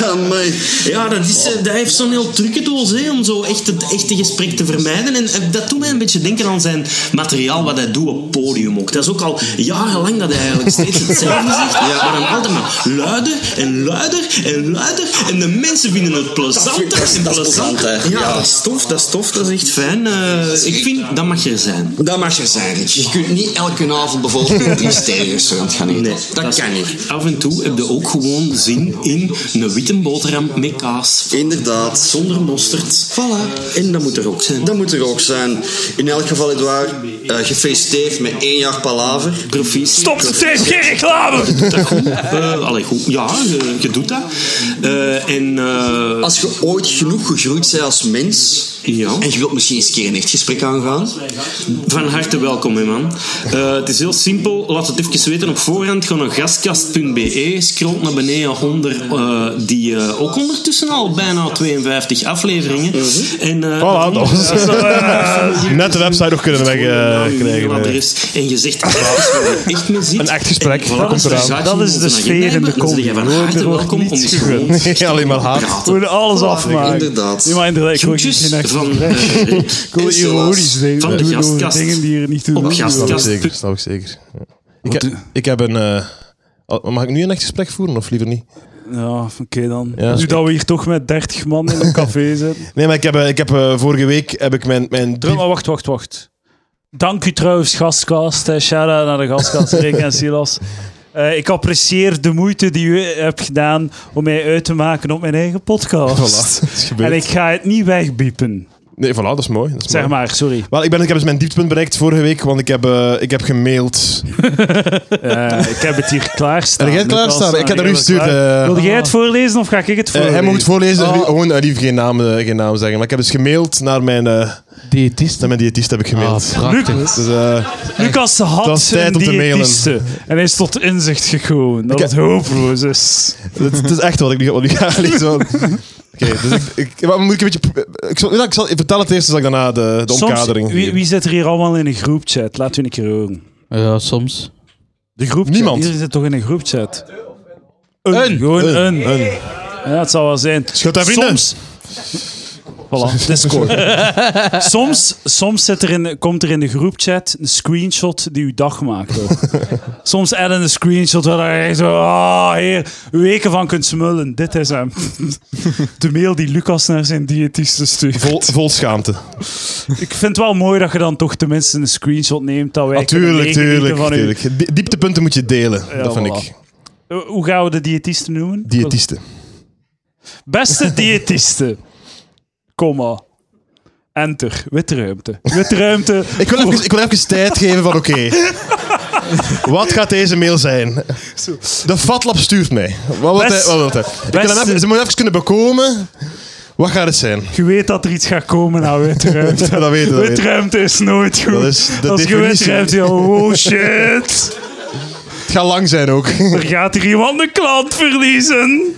S8: Ja, mei.
S9: Ja, dat, is, eh, dat heeft zo'n heel trucendoos hè, om zo echt het echte gesprek te vermijden. En eh, dat doet mij een beetje denken aan zijn materiaal wat hij doet op podium ook. Dat is ook al jarenlang dat hij eigenlijk steeds hetzelfde zegt. Maar dan altijd maar luider en luider en luider. En de mensen vinden het plezanter
S8: Dat is-
S9: en
S8: dat is
S9: plezanter.
S8: plezant, hè.
S9: ja,
S8: Ja.
S9: dat is tof, dat is tof, dat is echt fijn. Eh, ik vind, dat mag er zijn.
S8: Dat mag je zijn, Rick. Je kunt niet elke avond bijvoorbeeld een drie sterren restaurant gaan eten. dat,
S9: is-
S8: kan niet.
S9: Af en toe heb je ook gewoon zin in een witte boterham met kaas.
S8: Inderdaad.
S9: Zonder mosterd.
S8: Voilà.
S9: En dat moet er ook zijn.
S8: Dat moet er ook zijn. In elk geval, Edouard, eh, gefeliciteerd met één jaar palaver.
S9: Proficiat.
S2: Stop, het is geen reclame!
S9: Eh, allee, goed. Ja, je, je doet dat. Eh, en eh,
S8: Als je ooit genoeg gegroeid bent als mens...
S9: Ja.
S8: En je wilt misschien eens een keer een echt gesprek aangaan...
S9: van harte welkom, hè, man. Eh, het is heel simpel. Laat het even weten op voorhand. Ga naar gastkast.be. Scroll naar beneden onder eh, die eh, ook ondertussen al bijna 52 afleveringen.
S2: Mhm.
S9: En, eh,
S3: Voilà, dat was net de website nog kunnen
S9: Gewoon, eh, uw
S3: wegkrijgen.
S9: adres. En je zegt dat je echt mee zit.
S3: Een echt gesprek.
S9: En voilà,
S3: Dat komt
S9: als je
S3: eraan.
S9: zaken
S2: Dat is
S9: op
S2: de
S9: een agenda
S2: sfeer in de
S9: hebben, dan ben je
S2: comedy.
S9: van harte
S2: Er wordt
S9: welkom om
S2: niets
S9: eens
S2: gegund.
S9: gewoon
S3: Alleen maar haat.
S2: We willen alles afmaken.
S8: Inderdaad.
S2: Ja, maar inderdaad, ik wil
S9: Groetjes
S2: geen
S9: van, eh,
S2: wil
S9: en
S2: ironisch
S9: zoals
S2: zeggen.
S9: van de
S2: Doen over dingen
S9: gastkast.
S2: die hier niet toe
S9: Op
S2: doen.
S9: gast.
S3: Dat
S9: Podcast.
S3: snap ik zeker. Snap ik zeker. Ja. Ik, heb, ik heb een. eh, al- mag ik nu een echt gesprek voeren of liever niet?
S2: Ja, oké dan.
S3: Ja.
S2: Nu dat we hier toch met 30 man in een café zitten.
S3: Nee, maar ik heb, eh, ik heb eh, vorige week heb ik mijn. mijn
S2: Drum, maar wacht, wacht, wacht. Dank u trouwens, gastkast. Eh, Shout-out naar de gastkast, Rick en Silas. Eh, ik apprecieer de moeite die u hebt gedaan om mij uit te maken op mijn eigen podcast.
S3: Voilà, het is gebeurd.
S2: En ik ga het niet wegbiepen.
S3: Nee, voilà, dat is mooi. Dat is
S2: Zeg
S3: mooi.
S2: maar, sorry.
S3: Wel, ik, ben, ik heb dus mijn dieptepunt bereikt vorige week, want ik heb, eh, ik heb gemaild.
S2: Eh, ik heb het hier klaarstaan.
S3: Heb jij het
S2: Lucas.
S3: klaarstaan? Ik heb dat u gestuurd.
S2: klaar.
S3: eh.
S2: Wil jij het voorlezen of ga ik het
S3: Eh,
S2: voorlezen?
S3: hij moet het voorlezen,
S2: Ah.
S1: Oh.
S3: Rie- gewoon eh, Rief geen naam, eh, geen naam zeggen. Maar ik heb dus gemaild naar mijn, eh,
S1: Diëtist.
S3: naar mijn diëtist. Heb ik
S1: Ah,
S3: gemaild.
S1: prachtig.
S3: dus, eh,
S2: Lucas had
S3: was tijd
S2: een
S3: om te mailen.
S2: diëtiste. En hij is tot inzicht gekomen dat
S3: Ik-
S2: het hopeloos Dus is.
S3: Het, het is echt wat ik nu, wat ik nu ga lezen. want- Oké, dus ik, ik, maar moet ik een beetje... pro- Ik zal, ik zal ik vertel het eerst, zodat ik daarna de, de omkadering
S2: Soms, wie,
S3: geef.
S2: wie zit er hier allemaal in een groepchat? Laat u een keer horen.
S1: Ja, soms.
S2: De groepchat?
S3: Niemand.
S2: Iedereen zit toch in een groepchat?
S3: Een.
S2: Gewoon
S3: Een.
S2: een.
S3: Een.
S2: Ja, het zal wel zijn.
S3: Schud daar vrienden.
S2: Soms... Voilà, Discord. soms soms zit er in, komt er in de groepchat een screenshot die uw dag maakt. ook. soms adden een screenshot waar je zo ah, heer, weken van kunt smullen. Dit is hem. de mail die Lucas naar zijn diëtiste stuurt.
S3: Vol, vol schaamte.
S2: Ik vind het wel mooi dat je dan toch tenminste een screenshot neemt. Dat wij kunnen
S3: Natuurlijk,
S2: meegenieten
S3: Ah, tuurlijk,
S2: van u.
S3: tuurlijk. Die- Dieptepunten moet je delen, dat vind
S2: voilà.
S3: ik.
S2: Eh, Hoe gaan we de diëtiste noemen?
S3: Diëtiste.
S2: Beste diëtiste. Komma. Enter. Witruimte. Witruimte.
S3: Ik wil, even, ik wil even tijd geven van oké. Wat gaat deze mail zijn? De Fatlab stuurt mij. Wat wil
S2: Best-
S3: hij? Wat wil hij? Ik wil hem
S2: beste-
S3: even- ze moeten even kunnen bekomen. Wat gaat het zijn?
S2: Je weet dat er iets gaat komen aan witruimte.
S3: Dat weten we. dat weten we.
S2: Witruimte is nooit goed.
S3: Dat is de
S2: Als je
S3: definitie.
S2: witruimte, ja, oh shit.
S3: Het gaat lang zijn ook.
S2: Er gaat hier iemand een klant verliezen.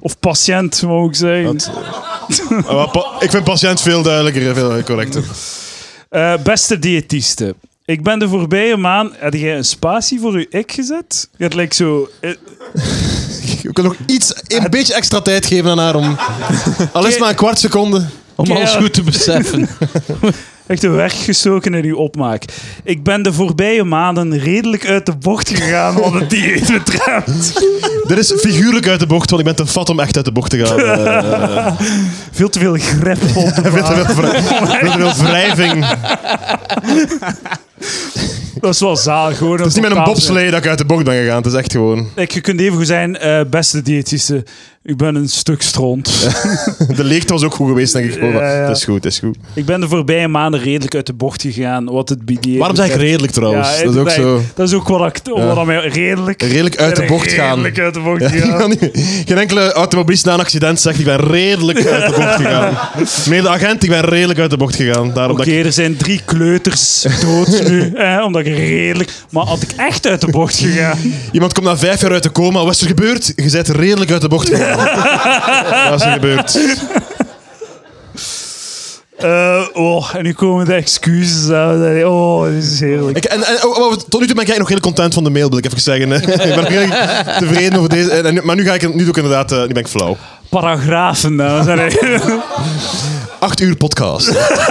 S2: Of patiënt, mag ik zeggen.
S3: Ah, maar pa- Ik vind patiënt veel duidelijker en veel correcter.
S2: Eh, beste diëtiste. Ik ben de voorbije maand... Had jij een spatie voor je ik gezet? Je had like zo... eh,
S3: Ik wil nog iets, een beetje extra tijd geven aan haar om... Al is het maar een kwart seconde.
S1: Om alles
S2: Ja.
S1: goed te beseffen.
S2: Echt een weg gestoken in uw opmaak. Ik ben de voorbije maanden redelijk uit de bocht gegaan wat het dieet betreft.
S3: Dit is figuurlijk uit de bocht, want ik ben te fat om echt uit de bocht te gaan. Eh,
S2: Veel te veel grip op de
S3: veel te veel vrij- veel te veel wrijving. Het
S2: Dat is wel zalig, gewoon.
S3: is niet met een bobslee dat ik uit de bocht ben gegaan. Het is echt gewoon...
S2: Ik, je kunt even goed zijn, eh, beste diëtiste. Ik ben een stuk stront.
S3: De leegte was ook goed geweest, denk ik.
S2: Ja, ja.
S3: Het is goed, het is goed.
S2: Ik ben de voorbije maanden redelijk uit de bocht gegaan wat het dieet
S3: Waarom zeg ik
S2: betreft.
S3: redelijk trouwens?
S2: Ja,
S3: dat is ook zo.
S2: Dat is ook wat, ik, wat aan mij redelijk...
S3: Redelijk uit de
S2: Ik ben
S3: bocht gaan.
S2: Redelijk uit de bocht
S3: Ja,
S2: gegaan.
S3: Geen enkele automobilist na een accident zegt ik ben redelijk uit de bocht gegaan. Meneer de agent, ik ben redelijk uit de bocht gegaan. Daarom
S2: Oké,
S3: dat ik...
S2: er zijn drie kleuters dood nu, hè, omdat ik redelijk... Maar had ik echt uit de bocht gegaan...
S3: Iemand komt na vijf jaar uit de coma. Wat is er gebeurd? Je bent redelijk uit de bocht gegaan. Dat is er gebeurd.
S2: Eh, oh, en nu komen de excuses. aan. Oh, dit is heerlijk.
S3: Ik, en, en, oh, oh, tot nu toe ben ik eigenlijk nog heel content van de mail, wil ik even zeggen. hè. ik ben nog heel tevreden over deze. En, en nu- maar nu, ga ik, nu doe ik inderdaad... eh, nu ben ik flauw.
S2: Paragrafen, dames en heren.
S3: Acht uur podcast.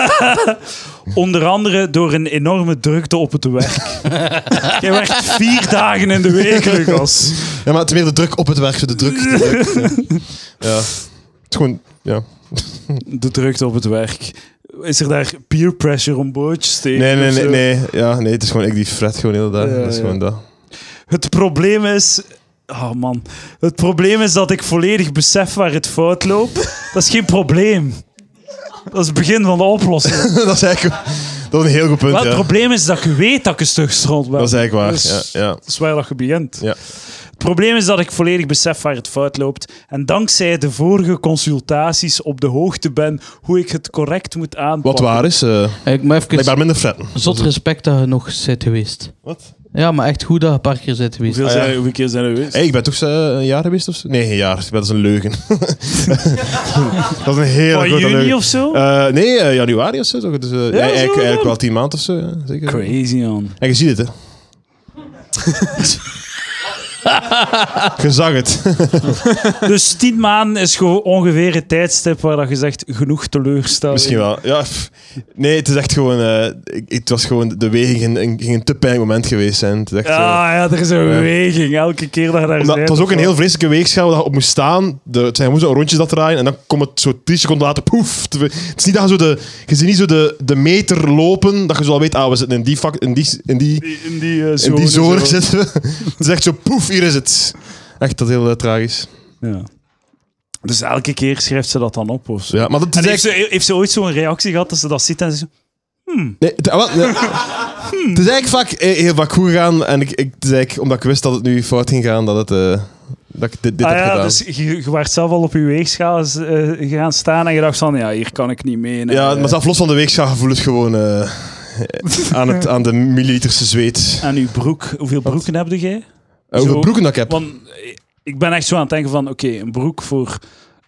S2: Onder andere door een enorme drukte op het werk. Jij werkt vier dagen in de week, Lucas.
S3: Ja, maar het is meer de druk op het werk. zo De druk. De druk. Ja. Het is gewoon... Ja.
S2: De drukte op het werk. Is er daar peer pressure om bootjes tegen?
S3: Nee, nee,
S2: of
S3: nee,
S2: zo?
S3: nee. Ja, nee, het is gewoon ik die fret gewoon heel daar.
S2: Ja,
S3: dat is
S2: ja.
S3: gewoon dat.
S2: Het probleem is... Oh man. Het probleem is dat ik volledig besef waar het fout loopt. Dat is geen probleem. Dat is het begin van de oplossing.
S3: dat is eigenlijk dat is een heel goed punt.
S2: Maar het
S3: Ja.
S2: probleem is dat je weet dat ik een stuk stront ben.
S3: Dat is eigenlijk waar. Ja,
S2: Dus-
S3: ja.
S2: Dat is waar dat je begint.
S3: Ja.
S2: Het probleem is dat ik volledig besef waar het fout loopt. En dankzij de vorige consultaties op de hoogte ben hoe ik het correct moet aanpakken.
S3: Wat waar is, eh
S1: Ik moet even
S3: blijkbaar minder fretten.
S1: zot respect dat je nog zit geweest.
S3: Wat?
S1: Ja, maar echt goed dat je een paar keer zit geweest.
S2: Hoeveel
S3: Ah, ja.
S2: zijn, hoeveel keer zijn er geweest?
S3: Hey, ik ben toch eh, een jaar geweest of zo? Nee, geen jaar. Dat is een leugen. dat is een hele
S2: Van
S3: grote
S2: juni
S3: leugen.
S2: of zo?
S3: Eh, nee, eh, januari of zo. toch? Dus, eh, ja, eigenlijk,
S2: zo,
S3: eigenlijk
S2: ja.
S3: wel tien maanden of zo. ja, Zeker.
S2: Crazy, man.
S3: En je ziet het, hè? Je zag het.
S2: Dus tien maanden is gewoon ongeveer het tijdstip waar dat je zegt genoeg teleurstelling.
S3: Misschien wel. Ja, pff. nee, het is echt gewoon... eh, ik- het was gewoon... De weging ging, ging- ging een te pijnlijk moment geweest zijn. Het is echt, eh,
S2: Ja, ja, er is een beweging elke keer dat je daar
S3: Omdat,
S2: bent
S3: het was
S2: of
S3: ook een
S2: zo.
S3: heel vreselijke weegschaal dat je op moest staan. De, het zijn, je moest een rondje dat draaien en dan komt het zo 10 seconden later, poef. Te- Het is niet dat je zo de, je ziet niet zo de, de meter lopen, dat je zo al weet, ah, we zitten in die, vak, in die, in die,
S2: in die eh,
S3: in
S2: zone.
S3: die zone
S2: zo.
S3: zitten we. Het is echt zo, poef, hier is het. Echt, dat is heel eh, tragisch.
S2: Ja. Dus elke keer schrijft ze dat dan op of zo.
S3: Ja, maar dat
S2: En
S3: is
S2: heeft
S3: echt...
S2: ze, heeft ze ooit zo'n reactie gehad dat ze dat ziet en ze zo...
S3: Nee, het, ah, wel, nee. Het is eigenlijk vaak, eh, heel vaak goed gegaan en ik, ik, het is eigenlijk, omdat ik wist dat het nu fout ging gaan, dat, het, eh, dat ik dit, dit
S2: ah
S3: heb
S2: ja,
S3: gedaan.
S2: dus je, je werd zelf al op je weegschaal eens, eh, gaan staan en je dacht van, ja, hier kan ik niet mee. eh, nee.
S3: ja, maar zelfs los van de weegschaal voel het gewoon eh, aan, het, aan de milliliterse zweet.
S2: En uw broek, hoeveel broeken heb jij?
S3: Eh, hoeveel
S2: Zo.
S3: broeken dat ik heb.
S2: Want eh, ik ben echt zo aan het denken van, oké, een broek voor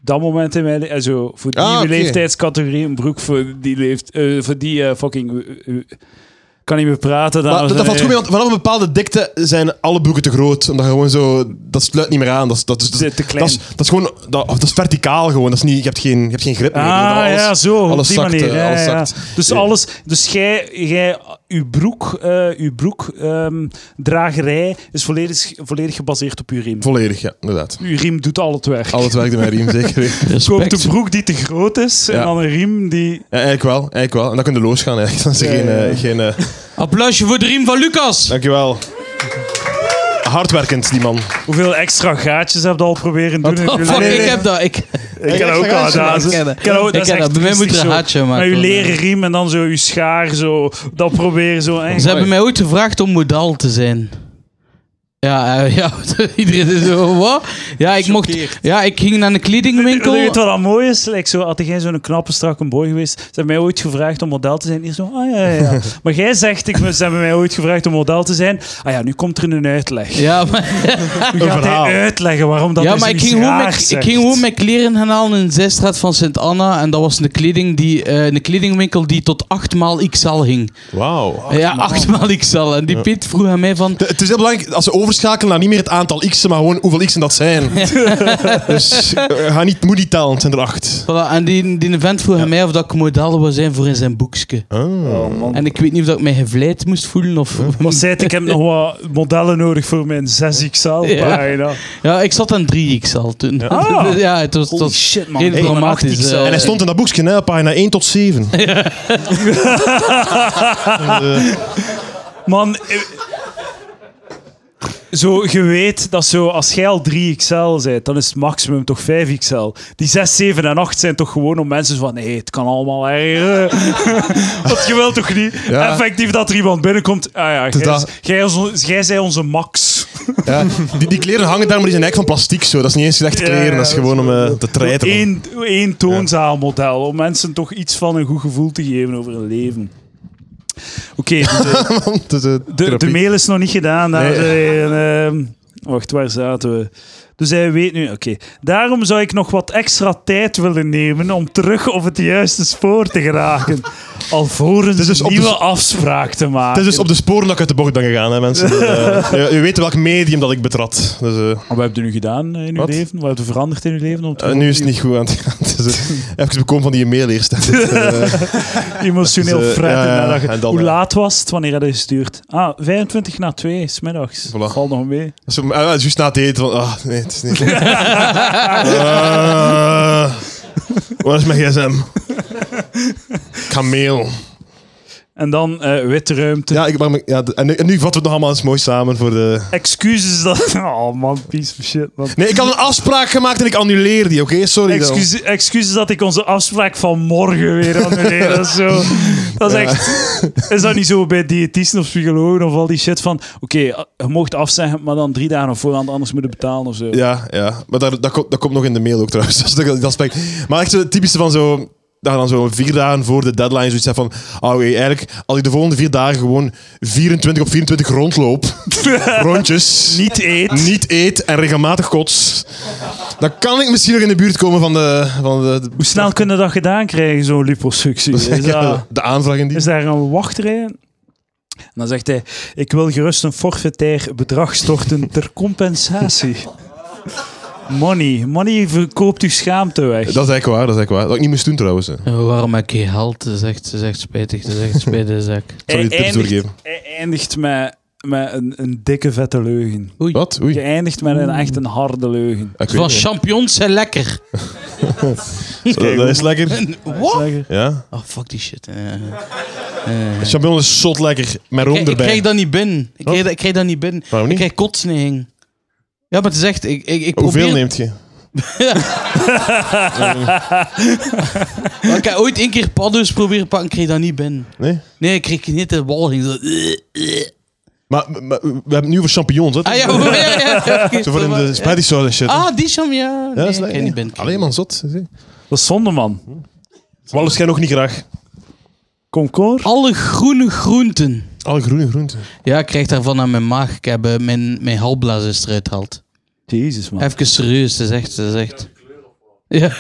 S2: dat moment in mijn le- eh, zo voor die
S3: Ah, oké.
S2: leeftijdscategorie, een broek voor die leeft, eh, voor die eh, fucking, eh, eh, kan niet meer praten.
S3: Maar
S2: dames
S3: dat,
S2: en
S3: dat valt goed mee,
S2: heren.
S3: want vanaf een bepaalde dikte zijn alle broeken te groot. Omdat je gewoon zo... Dat sluit niet meer aan. Dat is, dat is, dat is,
S2: Te- te klein.
S3: dat is, dat is gewoon... Dat, of dat is verticaal gewoon. Dat is niet, je, hebt geen, je hebt geen grip meer. Dat
S2: Ah
S3: alles-
S2: ja, zo. op
S3: alles
S2: die
S3: zakt,
S2: manier.
S3: eh,
S2: Ja,
S3: alles
S2: ja, ja.
S3: zakt.
S2: Dus
S3: Ja.
S2: alles. Dus jij, jij uw broek, eh, uw broek ehm, dragerij is volledig, volledig gebaseerd op uw riem.
S3: Volledig, ja. Inderdaad.
S2: Uw riem doet al het werk.
S3: Al het werk in mijn riem, zeker. Ja,
S2: Je koopt
S1: Respect.
S2: een broek die te groot is en
S3: Ja.
S2: dan een riem die.
S3: eigenlijk wel. Eigenlijk wel. En dan kun je losgaan eigenlijk. Dan is er
S2: Ja,
S3: geen...
S2: ja,
S3: eh,
S2: ja.
S3: geen eh,
S1: Applausje voor de riem van Lucas.
S3: dankjewel. Hardwerkend, die man.
S2: Hoeveel extra gaatjes heb je al proberen doen? in
S1: Oh,
S2: uw
S1: fuck,
S2: leven?
S3: nee,
S1: ik
S3: nee.
S1: heb dat. Ik,
S2: Ik ken dat ook al
S3: Extra
S2: gedaan.
S3: gaatjes,
S2: Ik
S1: man.
S2: ken dat ook,
S1: Ik
S2: dat is
S1: ken
S2: echt
S1: dat. Bij mij moet er
S2: triestig
S1: een
S2: zo.
S1: hartje
S2: Met
S1: maken.
S2: uw leren riem en dan zo uw schaar zo dat proberen zo. hè.
S1: Ze hebben mij ooit gevraagd om modaal te zijn. Ja, eh, ja iedereen is zo, wat? Ja, ik mocht... Ja, ik ging naar een kledingwinkel.
S2: Weet je wat dat mooi is? Like zo, had jij zo'n knappe, strakke boy geweest, ze hebben mij ooit gevraagd om model te zijn. Hier zo, ah ja, ja, ja. Maar jij zegt, ik, moet- ze hebben mij ooit gevraagd om model te zijn. Ah ja, nu komt er een uitleg.
S1: Ja, maar,
S2: nu gaat
S3: verhaal.
S2: hij uitleggen waarom dat
S1: ja,
S2: is
S1: maar ik, ging gewoon met, ik ging gewoon mijn kleren gaan halen in de zijstraat van Sint-Anna. En dat was een, kleding die, eh, een kledingwinkel die tot 8x XL ging.
S3: Wauw.
S1: ja, 8x XL. En die Piet vroeg aan mij van...
S3: De- Het is heel belangrijk als ze overschakelen naar niet meer het aantal x'en, maar gewoon hoeveel x'en dat zijn. dus eh, ga niet, moet niet tellen, het zijn er acht.
S1: Voilà, en die, die vent vroeg aan mij of dat ik model wou zijn voor in zijn boekje. En ik weet niet of dat ik mij gevleid moest voelen of...
S2: Maar zei het, ik heb nog wat modellen nodig voor mijn 6XL-pagina.
S1: Ja, ik zat aan 3XL toen.
S2: Ah.
S1: ja, het was... het
S2: Holy
S1: was
S2: shit, man.
S1: heel
S2: Ik ben een
S1: dramatisch,
S2: 8XL.
S1: eh.
S3: En hij stond in dat boekje, hè, pagina 1 tot 7.
S2: Man, eh, zo, je weet dat zo, als jij al 3XL bent, dan is het maximum toch 5XL. Die 6, 7 en 8 zijn toch gewoon om mensen van, nee, het kan allemaal erger. Want je wilt toch niet
S3: Ja.
S2: effectief dat er iemand binnenkomt. Ah ja, jij,
S3: dat.
S2: is- jij, is on- jij zij onze max.
S3: Ja, die, die kleren hangen daar, maar die zijn eigenlijk van plastiek. Zo. Dat is niet eens echt kleren,
S2: Ja, ja,
S3: dat is
S2: dat is
S3: gewoon om eh, te treiten. man.
S2: Eén, één toonzaalmodel, om mensen toch iets van een goed gevoel te geven over hun leven. Oké, dus, de-
S3: Het is, eh,
S2: De, de
S3: therapie.
S2: mail is nog niet gedaan, dames en
S3: Nee.
S2: heren. Ehm, wacht, waar zaten we? Dus hij weet nu, oké. Daarom zou ik nog wat extra tijd willen nemen om terug op het juiste spoor te geraken. Alvorens
S3: dus
S2: een
S3: op de-
S2: nieuwe afspraak te
S3: Het
S2: maken.
S3: is dus op de sporen dat ik uit de bocht ben gegaan, hè, mensen. Eh, je, je weet welk medium dat ik betrad. Dus, eh,
S2: Wat heb je nu gedaan eh, in uw
S3: Wat?
S2: leven? Wat heb je veranderd in uw leven? Om
S3: eh,
S2: terug
S3: nu is het niet goed aan het gaan. Dus, eh, even bekomen van die mail eerst. hè. eh,
S2: emotioneel
S3: Dus, eh,
S2: fretten.
S3: ja, ja,
S2: nadat je-
S3: en dan,
S2: Hoe
S3: eh,
S2: laat was het wanneer had je gestuurd? Ah, 25 na 2, smiddags.
S3: Voilà.
S2: Valt nog mee.
S3: Zo, eh, eh, juist na het eten. Van, ah, nee, het is niet. Eh, waar is mijn gsm? Ik ga mail.
S2: En dan eh witte ruimte.
S3: Ja, ik, maar, maar- ja, de- en, nu, en nu vatten we het nog allemaal eens mooi samen voor de...
S2: Excuses dat... Oh man, piece of shit. Man.
S3: Nee, ik had een afspraak gemaakt en ik annuleer die, oké? Sorry dan.
S2: Excuus, excuses dat ik onze afspraak van morgen weer annuleer. dat is zo. Dat is echt. Is dat niet zo bij diëtisten of psychologen of al die shit van. Oké, eh, je mocht afzeggen, maar dan drie dagen op voorhand anders moeten betalen of zo.
S3: Ja, ja. Maar daar, dat, komt, dat komt nog in de mail ook trouwens. Dus dat, dat aspect. Maar echt zo het typische van zo... Dat je dan zo vier dagen voor de deadline zoiets hebt van... Oh, oké, eigenlijk, als ik de volgende vier dagen gewoon 24 op 24 rondloop... rondjes...
S2: Niet eet.
S3: niet eet en regelmatig kots... Dan kan ik misschien nog in de buurt komen van de... Van de, de-
S2: Hoe snel kunnen dat gedaan krijgen, zo'n liposuctie? Is, dat-
S3: de aanvraag in die...
S2: is daar een wachtrij? En dan zegt hij: Ik wil gerust een forfaitair bedrag storten ter compensatie. Money. Money verkoopt uw schaamte weg.
S3: Dat is eigenlijk waar, dat is eigenlijk waar. Dat had ik niet moest doen trouwens. hè. Ik
S1: Eh, Waarom heb je geld? Dat is echt, dat is echt spijtig. Dat is echt spijtig, zeg.
S3: zal je
S2: Hij
S3: tips
S2: eindigt,
S3: doorgeven.
S2: hij eindigt met, met een, een dikke vette leugen.
S3: Wat? Oei.
S2: Je eindigt met een, echt een harde leugen.
S3: Ik weet
S1: Van
S3: het.
S1: champignons zijn lekker.
S3: dat, dat is lekker.
S1: What?
S3: Ja.
S1: Oh, fuck die shit. Eh,
S3: Champignon is zot lekker. Met room
S1: Ik, ik
S3: erbij.
S1: krijg dat niet binnen. Ik krijg,
S3: Wat?
S1: dat- ik krijg dat niet binnen.
S3: Waarom
S1: Ik
S3: niet?
S1: krijg kotsneging. Ja, maar het is echt... Ik, ik, ik
S3: Hoeveel
S1: probeer,
S3: neemt je?
S1: Ik heb ooit één keer paddo's proberen pakken, ik kreeg dat niet binnen.
S3: Nee?
S1: Nee, ik kreeg niet de walging. Zo, eh, eh.
S3: Maar, maar we hebben het nu over champignons, hè?
S1: Ah ja, ja, ja, ja, oké,
S3: Zo van in de
S1: maar-
S3: spaghetti saus en shit. hè?
S1: Ah, die sham, ja.
S3: ja,
S1: Nee,
S3: dat
S1: ik
S3: is lekker.
S1: kreeg niet binnen.
S3: Alleen man, zot. zie.
S2: Dat is zonde, man.
S3: Wallis, jij nog niet graag.
S2: Komkoor?
S1: Alle groene groenten.
S3: Alle groene groenten.
S1: Ja, ik krijg daarvan aan mijn maag. Ik heb eh, mijn, mijn halblaas is eruit gehaald.
S2: Jezus, man.
S1: Even serieus, dat is echt... Dat is echt. Ja.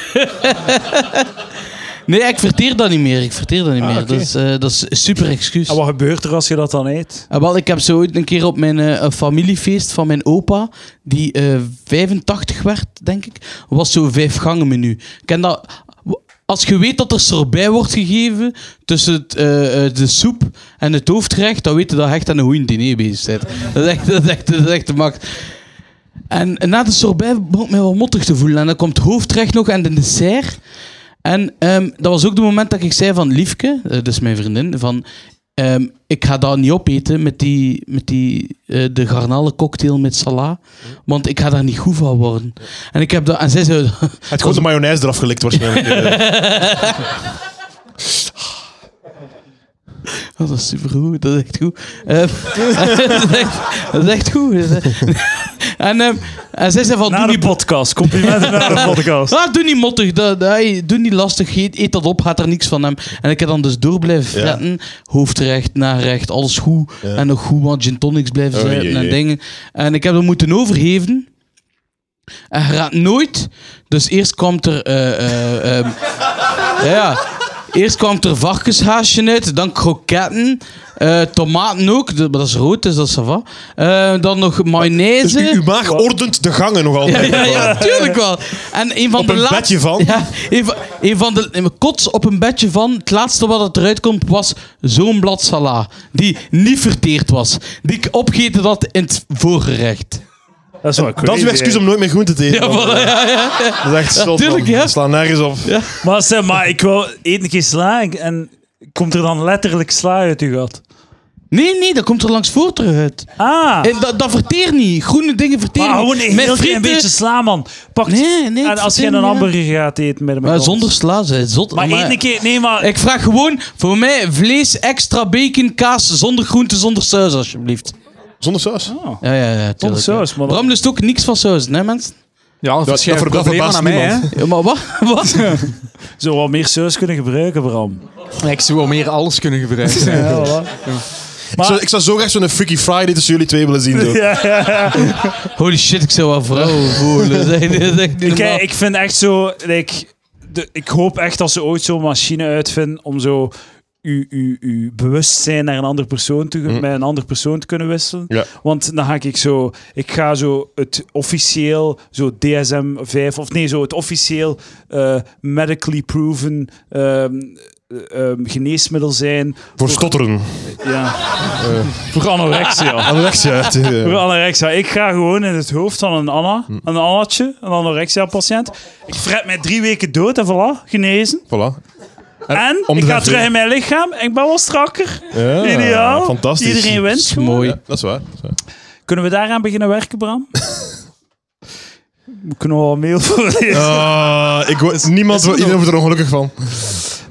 S1: nee, ik verteer dat niet meer. Ik verteer dat niet meer.
S3: oké.
S1: Dat, is, eh, dat is een super excuus.
S2: En wat gebeurt er als je dat dan eet?
S1: Ah, wel, ik heb zo ooit een keer op mijn eh, een familiefeest van mijn opa, die eh 85 werd, denk ik, was zo'n vijf gangen menu. Ken dat, als je weet dat er sorbet wordt gegeven tussen het, eh, eh, de soep en het hoofdgerecht, dan weet je dat je echt aan een goeie diner bezig bent. Dat is echt, dat is echt, dat is echt de max. En na de sorbet begon ik mij wel mottig te voelen. En dan komt het hoofdrecht nog en de dessert. En ehm, dat was ook het moment dat ik zei van Liefke, eh, dus mijn vriendin, van... ehm, ik ga dat niet opeten met die, met die eh, de garnalencocktail met sala. Want ik ga daar niet goed van worden. En ik heb dat... En zij zei...
S3: Het gewoon de mayonaise eraf gelikt waarschijnlijk. eh.
S1: Oh, dat is supergoed, dat is echt goed. Ehm, dat, is echt, dat is echt goed. en, ehm, en zij zei van...
S2: Naar
S1: doe
S2: de
S1: die
S2: podcast. Complimenten naar de podcast.
S1: Ah, doe niet mottig, dat, dat- hey, doe niet lastig, eet, eet dat op, gaat er niks van hem. En ik heb dan dus door blijven
S3: Ja.
S1: fretten, hoofdrecht, narecht, alles goed.
S3: Ja.
S1: En nog goed wat gin tonics blijven
S3: Oh,
S1: zetten
S3: jee,
S1: en
S3: jee.
S1: dingen. En ik heb dat moeten overgeven. En je raadt nooit. Dus eerst kwam er... eh, eh, ehm, ja, ja. Eerst kwam er varkenshaasje uit, dan kroketten, eh, tomaten ook, dat- maar dat is rood, dus dat is ça va. Eh, dan nog
S3: Dus
S1: mayonaise.
S3: u- uw maag ordent de gangen nog altijd.
S1: Ja, ja, tuurlijk wel. En een van
S3: Op
S1: de
S3: een
S1: laat-
S3: bedje van.
S1: Ja, een van, een van de een kots op een bedje van. Het laatste wat het eruit komt was zo'n blad sala. Die niet verteerd was. Die ik opgeten had in het voorgerecht.
S2: Dat is wel
S3: Dat is uw excuus om nooit meer groente te eten.
S1: Ja,
S3: want,
S1: voilà, ja, ja.
S3: eh, Dat is echt zot.
S1: tuurlijk,
S3: man.
S1: ja.
S3: Dat slaat nergens op.
S2: Maar zeg maar, ik wil eet een keer sla en- en komt er dan letterlijk sla uit uw gat?
S1: Nee, nee, dat komt er langs voor terug uit.
S2: Ah,
S1: En dat, dat verteert niet. Groene dingen verteren
S2: maar gewoon
S1: niet.
S2: een heel klein
S1: frieten-
S2: beetje sla, man. Pak,
S1: Nee, nee,
S2: en
S1: ik
S2: als je
S1: verzin,
S2: een
S1: ja.
S2: hamburger gaat eten met een
S1: Maar
S2: McDonald's.
S1: zonder sla, zij zot.
S2: Maar eet een keer, nee, maar...
S1: Ik vraag gewoon voor mij vlees, extra bacon, kaas, zonder groente, zonder saus, alsjeblieft.
S3: Zonder saus.
S1: Ja, ja, ja. Tuurlijk,
S2: saus,
S1: ja.
S2: maar dat-
S1: Bram lust ook niks van saus, hè, mensen?
S5: Ja, dat
S3: verschijnt
S5: verschijnt probleem
S3: dat verbaast
S5: aan mij, hè.
S3: niemand.
S1: Ja, maar wat? wat?
S2: Zo wat meer saus kunnen gebruiken, Bram.
S5: Ik zou wel meer alles kunnen gebruiken.
S2: Ja, voilà.
S3: Ik zou, ik zou zo graag zo'n Freaky Friday tussen jullie twee willen zien. Zo.
S1: Holy shit, ik zou wel vrouwen voelen. Dat is echt niet
S2: Ik, eh,
S1: normaal.
S2: ik vind echt zo... Like, de, ik hoop echt dat ze ooit zo'n machine uitvinden om zo... Uw, uw, uw bewustzijn naar een andere persoon te, met een andere persoon te kunnen wisselen.
S3: Ja.
S2: Want dan ga ik zo... Ik ga zo het officieel, zo DSM-5... Of nee, zo het officieel eh, medically proven... ehm, ehm, geneesmiddel zijn
S3: Voor stotteren.
S2: ja. voor
S1: Ah.
S2: anorexia.
S3: Anorexia. het, eh,
S2: Voor anorexia. Ik ga gewoon in het hoofd van een Anna,
S3: Hm.
S2: een Annatje, een anorexia-patiënt. Ik fret mij drie weken dood en voilà, genezen.
S3: Voilà.
S2: En
S3: om
S2: ik
S3: de
S2: ga
S3: vijf
S2: terug
S3: uur.
S2: in mijn lichaam en ik ben wel strakker.
S3: Ja,
S2: Ideaal.
S3: Fantastisch.
S2: Iedereen wint.
S1: is mooi.
S3: Ja, dat is waar. Dat is waar.
S2: Kunnen we daaraan beginnen werken, Bram? We kunnen wel een mail voorlezen.
S3: Ah, ik, word- niemand, wordt- iedereen wordt er ongelukkig van.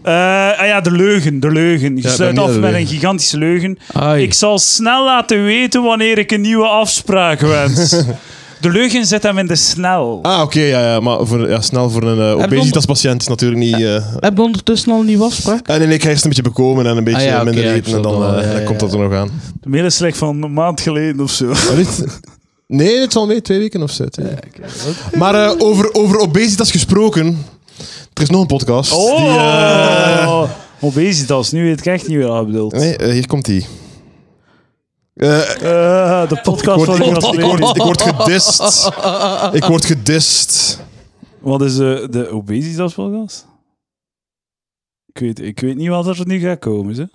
S2: Eh, ah ja, de leugen, de leugen. Je
S3: Ja,
S2: sluit
S3: dat
S2: af
S3: niet de
S2: met een
S3: leugen.
S2: gigantische leugen.
S1: Ai.
S2: Ik zal snel laten weten wanneer ik een nieuwe afspraak wens. de leugen zet hem in de snel.
S3: Ah, oké, ja, ja, maar voor, ja, snel voor een eh,
S1: Heb je
S3: obesitaspatiënt is natuurlijk niet... eh
S1: Heb je ondertussen al een nieuwe afspraak?
S3: en nee, ik ga eerst een beetje bekomen en een beetje
S1: Ah, ja, oké,
S3: minder
S1: ja, ik
S3: eten en
S1: snap
S3: dan,
S1: dat wel,
S3: eh,
S1: ja,
S3: dan
S1: ja,
S3: komt dat er nog aan.
S2: De mail is slecht van een maand geleden of zo.
S3: Nee, het zal mee, twee weken of zo. twee weken. Maar eh, over, over obesitas gesproken, er is nog een podcast.
S2: Oh!
S3: Die, eh,
S2: Obesitas, nu weet ik echt niet wat hij bedoelt.
S3: nee, eh, hier komt die. Eh,
S2: Eh, de podcast
S3: ik,
S2: van
S3: word, ik,
S2: Jonas
S3: word, ik,
S2: Leeuwen.
S3: word, ik word gedist. Ik word gedist.
S2: Wat is de, de obesitas podcast? Ik weet, ik weet niet wat er nu gaat komen. Ze.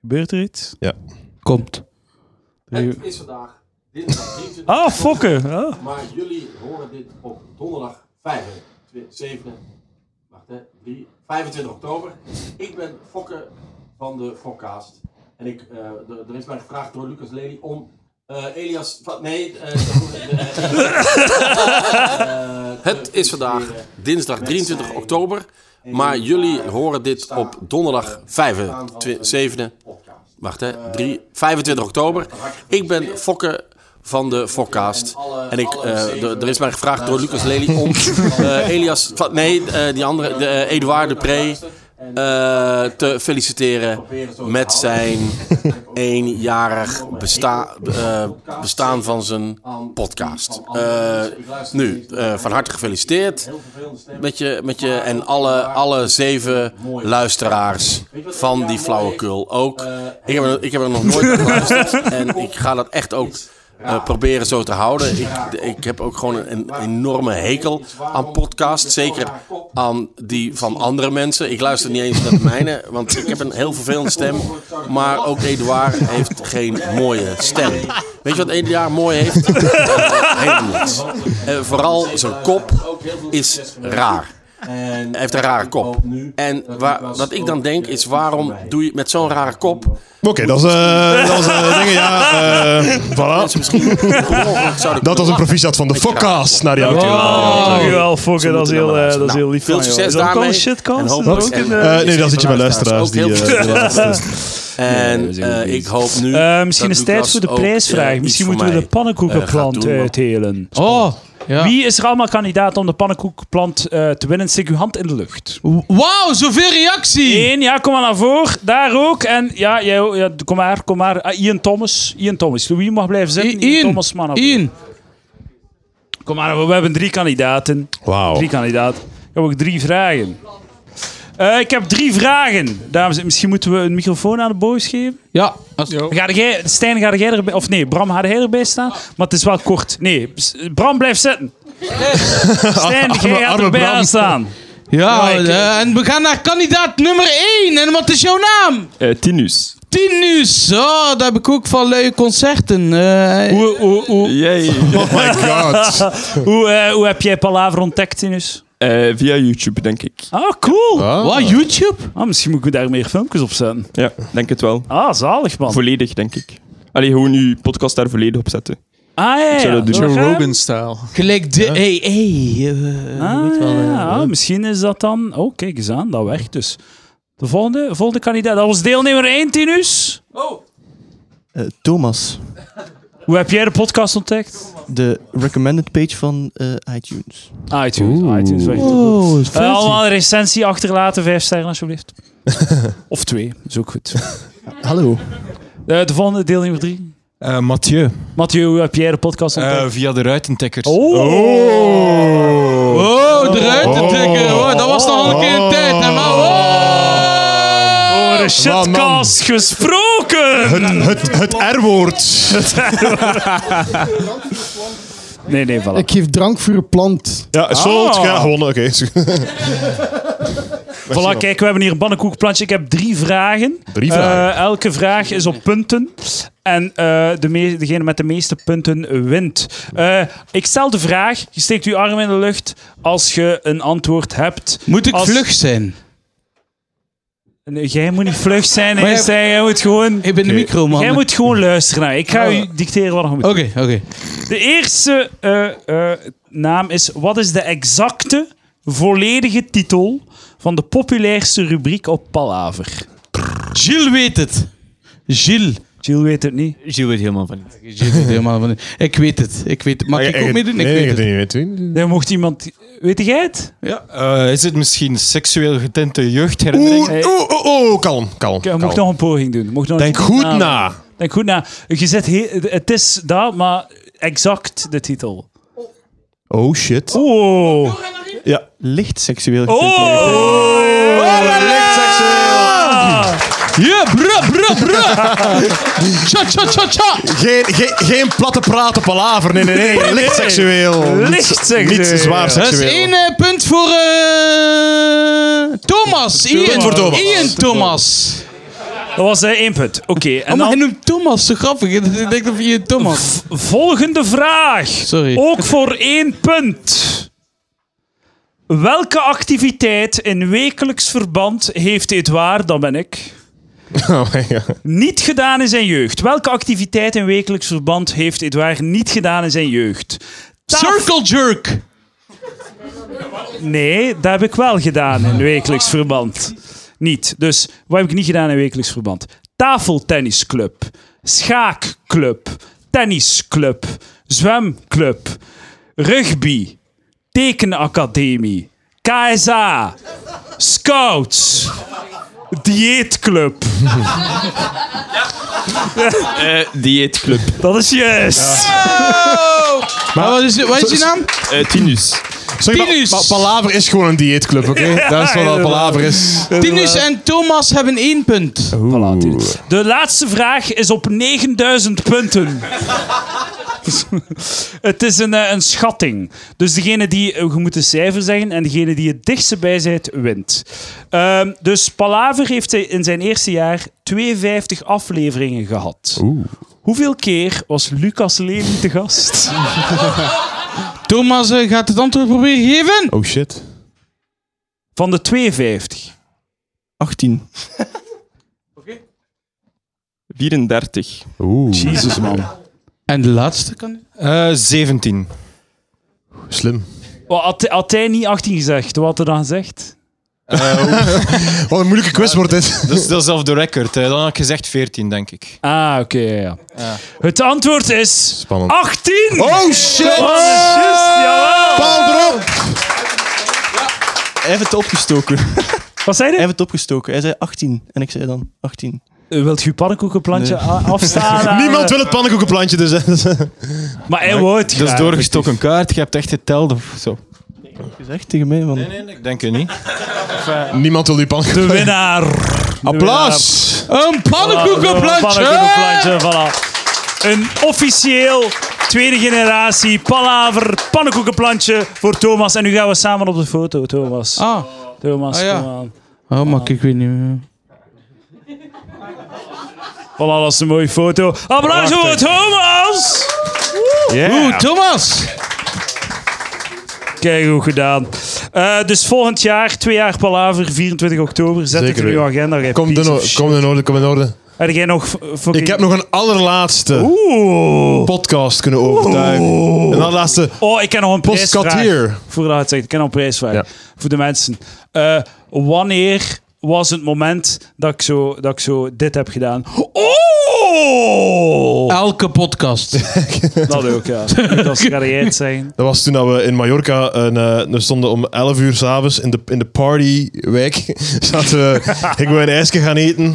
S2: Gebeurt er iets?
S1: Komt.
S2: Er-
S10: Het is vandaag dinsdag 23
S2: Ah, fokken! Ah.
S10: maar jullie horen dit op donderdag 5, 7, wacht hè, 3, 25 oktober. Ik ben Fokke van de Fokcast. En ik, eh, d- er is mij gevraagd door Lucas Lely om eh, Elias... va- Nee, eh, dat moet- eh, eh,
S9: Het is vandaag dinsdag 23 oktober, maar jullie
S10: eh,
S9: horen dit op donderdag 5, 7, wacht
S10: Eh,
S9: hè, 3, 25 oktober. Ik ben Fokke van de Fokcast. En ik, eh, d- er is mij gevraagd door Lucas Lely om eh, Elias, va- nee, eh, die andere, de, eh, Edouard de Pre, eh, te feliciteren met zijn eenjarig besta eh, bestaan van zijn podcast. Eh, nu, eh, van harte gefeliciteerd met je, met je en alle, alle zeven luisteraars van die flauwekul. Ook, ik heb, er- ik heb er nog nooit naar geluisterd en ik ga dat echt ook eh, proberen zo te houden. Ik, ik heb ook gewoon een, een enorme hekel aan podcasts, zeker aan die van andere mensen. Ik luister niet eens naar de mijne, want ik heb een heel vervelende stem. Maar ook Eduard heeft geen mooie stem. Weet je wat Eduard mooi heeft? Eh, Helemaal niks. Eh, vooral zijn kop is raar. Hij heeft een rare kop. En waar, wat ik dan denk is, waarom doe je met zo'n rare kop...
S3: Oké, dat is, eh, dat is eh, dingen, ja. eh, voilà.
S9: mensen misschien per ongeluk zouden
S3: Dat was een
S9: kunnen
S3: proficiat van de Fokkaast naar die
S2: Oh,
S3: amateur.
S2: dankjewel, Fokke.
S9: Ze
S2: Dat is
S9: moeten dan
S2: heel, eh,
S9: luisteren.
S2: dat is heel
S9: Nou,
S2: lief
S9: veel
S2: van jou.
S9: succes
S2: Is dat ook
S9: daarmee.
S2: al shitcast?
S9: En hoop-
S2: Is dat ook
S9: en-
S2: in
S9: eh,
S2: de-
S3: Eh, nee, dat is ietsje bij luisteraars.
S9: Ook heel
S3: Die, eh,
S9: veel
S3: die luisteren.
S9: En eh, ik hoop nu.
S2: Eh, misschien is het tijd
S9: Lucas
S2: voor de
S9: ook,
S2: prijsvraag.
S9: eh,
S2: Misschien
S9: iets
S2: moeten we
S9: voor
S2: de
S9: mij,
S2: pannenkoekenplant
S9: eh, gaat doen,
S2: uitdelen.
S1: Oh, ja.
S2: Wie is er allemaal kandidaat om de pannenkoekenplant eh, te winnen? Steek uw hand in de lucht.
S1: Wauw, zoveel reactie!
S2: Eén, ja, kom maar naar voren. Daar ook. En ja, jij, ook. ja kom maar, kom maar. Ah, Ian Thomas. Ian Thomas. Louis mag blijven zitten. Ian,
S1: Ian,
S2: Thomas, maar naar voren.
S1: Ian.
S2: Kom maar, naar voren. we hebben drie kandidaten.
S3: Wauw.
S2: Drie kandidaat. Ik heb ook drie vragen. Eh, ik heb drie vragen. Dames, en- misschien moeten we een microfoon aan de boys geven.
S1: Ja, als-
S2: Ga jij, Stijn, ga jij erbij... Of nee, Bram, ga jij erbij staan? Maar het is wel kort. Nee, s- Bram, blijf zitten. Stijn, jij gaat
S3: arme
S2: erbij
S3: Bram.
S2: aan staan.
S1: ja
S2: Ja, ik-
S1: eh, en we gaan naar kandidaat nummer 1. En wat is jouw naam?
S2: Eh,
S7: Tinus.
S1: Tinus. Oh, dat heb ik ook van leuke concerten. Eh,
S2: Hoe, hoe, hoe,
S7: Jij.
S3: Oh my god.
S2: hoe, eh, hoe heb jij Palaver ontdekt, Tinus?
S7: Eh, via YouTube, denk ik.
S2: Ah, cool.
S1: wat, YouTube?
S2: Ah, misschien moet ik daar meer filmpjes op zetten.
S7: Ja, denk het wel.
S2: Ah, zalig, man.
S7: Volledig, denk ik. Allee, gewoon uw podcast daar volledig op zetten.
S2: Ah, ja, ja.
S7: zou dat doen.
S2: Zo
S5: Joe
S2: gaan.
S5: Rogan-style.
S1: Gelijk de... Hey, hey. eh,
S2: Ah,
S1: weet wel, eh,
S2: ja, misschien is dat dan... Oh, kijk eens aan, dat werkt dus. De volgende, volgende kandidaat, dat was deelnemer 1, Tinus.
S11: Eh, Thomas,
S2: Hoe heb jij de podcast ontdekt?
S11: de recommended page van eh, iTunes.
S2: iTunes, iTunes werkt ook goed.
S1: Oh,
S2: Eh, allemaal
S1: fancy.
S2: een recensie achterlaten, vijf sterren alsjeblieft. of twee, is ook goed.
S11: Hallo.
S2: Eh, de volgende, deelnemer 3.
S12: Eh, Mathieu. Eh,
S2: Mathieu, hoe heb jij de podcast ontdekt?
S12: via de Oh. ruitentikkers.
S3: Oh.
S1: Oh, eruit te trekken. Oh, dat was nog een keer een tijd. hè, maar, oh.
S2: Over de
S3: man, man.
S2: shitcast gesproken!
S3: Het, het, het R-woord.
S2: Nee, nee, voilà.
S11: Ik geef drank voor een plant.
S3: Ja,
S1: Ah.
S3: Sold, ja, gewonnen. Oké.
S2: Voilà, kijk, we hebben hier een pannenkoekplantje. Ik heb drie vragen.
S3: Drie vragen.
S2: Eh, elke vraag is op punten. En eh, de me- degene met de meeste punten wint. Eh, ik stel de vraag. Je steekt uw arm in de lucht als je een antwoord hebt.
S1: Moet ik
S2: Als-
S1: vlug zijn?
S2: Nee, eh, jij moet niet vlug zijn.
S1: Maar
S2: hè,
S1: jij-
S2: Stijn. jij moet gewoon...
S1: Ik ben de micro, man. Oh.
S2: Jij moet gewoon luisteren naar. Ik ga u dicteren wat je moet
S1: Oké, oké.
S2: De eerste eh, eh, naam is: wat is de exacte, volledige titel van de populairste rubriek op Palaver?
S1: Gilles weet het. Gilles.
S2: Jill weet het niet.
S12: Gilles weet helemaal van niet.
S1: Gilles weet helemaal van... Ik weet het. Ik weet het. Mag ik ook meedoen? Ik
S3: Nee,
S1: weet
S3: ik
S1: het.
S3: weet het niet.
S2: Dan mocht iemand. Weet jij het?
S12: Eh, is het misschien seksueel getinte
S3: Oeh,
S12: jeugdherinnering?
S3: oeh, oeh, oeh, kalm, kalm.
S2: Ik mocht
S3: kalm.
S2: nog een poging doen. Mocht nog
S3: Denk
S2: een-
S3: goed na.
S2: Denk goed na. Je zet he- het is dat, maar exact de titel.
S3: Oh shit.
S2: Oh!
S11: Licht seksueel
S2: Oh!
S3: licht seksueel.
S2: Ah.
S1: Ja, bruh, bruh, bruh. Tja, tja, tja, tja.
S3: Geen, geen, geen platte praten palaver. Nee, nee, nee. Licht seksueel. Niet- Niet zwaar
S1: Dat
S3: seksueel.
S1: is één eh, punt voor eh, Thomas. Ian.
S2: Punt voor Thomas.
S1: Ian Thomas.
S2: Dat was eh, één punt. Oké. en
S1: Oh,
S2: dan-
S1: maar hij noemt Thomas. Zo grappig. Ik denk dat Ian Thomas...
S2: Volgende vraag. Ook voor één punt. Welke activiteit in wekelijks verband heeft Edouard, dat ben ik, niet gedaan in zijn jeugd? Welke activiteit in wekelijks verband heeft Edouard niet gedaan in zijn jeugd?
S1: Circle jerk!
S2: Nee, dat heb ik wel gedaan in wekelijks verband. Niet. Dus wat heb ik niet gedaan in wekelijks verband? Tafeltennisclub, schaakclub, tennisclub, zwemclub, rugby, tekenacademie, KSA, scouts, dieetclub.
S13: dieetclub.
S2: Dat is juist.
S1: Maar wat is, wat is die naam?
S13: tinus.
S3: Sorry, maar-
S1: Tinus.
S3: maar Palaver is gewoon een dieetclub, oké? Dat is wat
S2: Ja,
S3: dat Palaver is.
S1: Tinus en Thomas hebben één punt.
S2: De laatste vraag is op 9000 punten. het is een, eh, een schatting. Dus degene die, eh, je moet een cijfer zeggen, en degene die het dichtste bij zijt, wint. Ehm, dus Palaver heeft hij in zijn eerste jaar 52 afleveringen gehad. Hoeveel keer was Lucas Lely te gast?
S1: Thomas eh, gaat het antwoord proberen geven.
S3: Oh shit.
S2: Van de 52.
S11: 18.
S13: 34.
S3: Oeh.
S1: Jezus, man. En de laatste kan...
S12: Eh 17.
S3: Slim.
S2: Wat, Had, had hij niet 18 gezegd? Wat had hij dan gezegd?
S3: Wat Oh, een moeilijke quiz wordt dit.
S12: Dat is, dat is off the record. hè. Dan had ik gezegd 14, denk ik.
S2: Ah, oké, ja, ja. Het antwoord is... 18!
S3: Oh shit!
S2: Oh, juist, jawel.
S3: Paal erop!
S11: Hij heeft het opgestoken.
S2: Wat zei hij?
S11: Hij heeft het opgestoken. Hij zei 18. En ik zei dan 18.
S2: Eh, Wilt u pannenkoekenplantje
S11: Nee.
S2: a- afstaan? aan-
S3: Niemand wil het pannenkoekenplantje, dus... hè.
S2: Maar hij wou het
S12: Dat is
S2: graag.
S12: doorgestoken kaart. Je hebt echt geteld. of Zo.
S11: Gezegd tegen mij. Want...
S12: Ik denk het niet.
S3: Niemand wil die
S2: De
S3: pannenkoeken.
S2: winnaar.
S3: Applaus!
S1: Een
S2: Oh,
S1: pannenkoekenplantje!
S2: Pannenkoekenplantje, voilà. Een officieel tweede generatie palaver pannenkoekenplantje voor Thomas. En nu gaan we samen op de foto, Thomas.
S1: Ah,
S2: Thomas,
S1: Ah, ja.
S2: kom aan.
S1: oh, maar ik weet niet meer.
S2: Voilà, dat is een mooie foto. Applaus voor Thomas!
S1: Oeh, Thomas!
S2: Kijk, goed gedaan. Eh, dus volgend jaar, twee jaar palaver, 24 oktober. Zet
S3: Zeker
S2: het in uw
S3: weten.
S2: agenda. jij
S3: Kom
S2: piece
S3: in
S2: of
S3: orde,
S2: shit.
S3: kom in orde, kom in orde.
S2: Heb jij nog... f- fucking-
S3: Ik heb nog een allerlaatste
S2: Oeh.
S3: podcast kunnen overtuigen. Een allerlaatste...
S2: Oh, ik ken nog een prijsvraag.
S3: Postkartier.
S2: Voordat je het zegt, ik ken nog een prijsvraag. Voor de mensen. Eh, wanneer was het moment dat ik, zo, dat ik zo dit heb gedaan? Oh!
S1: Elke podcast.
S2: Dat ook, ja. Dat is- ga jij het zeggen.
S3: Dat was toen dat we in Mallorca een, eh, we stonden om 11 uur s'avonds in de, in de partywijk. Zaten we, ik wou een ijsje gaan eten.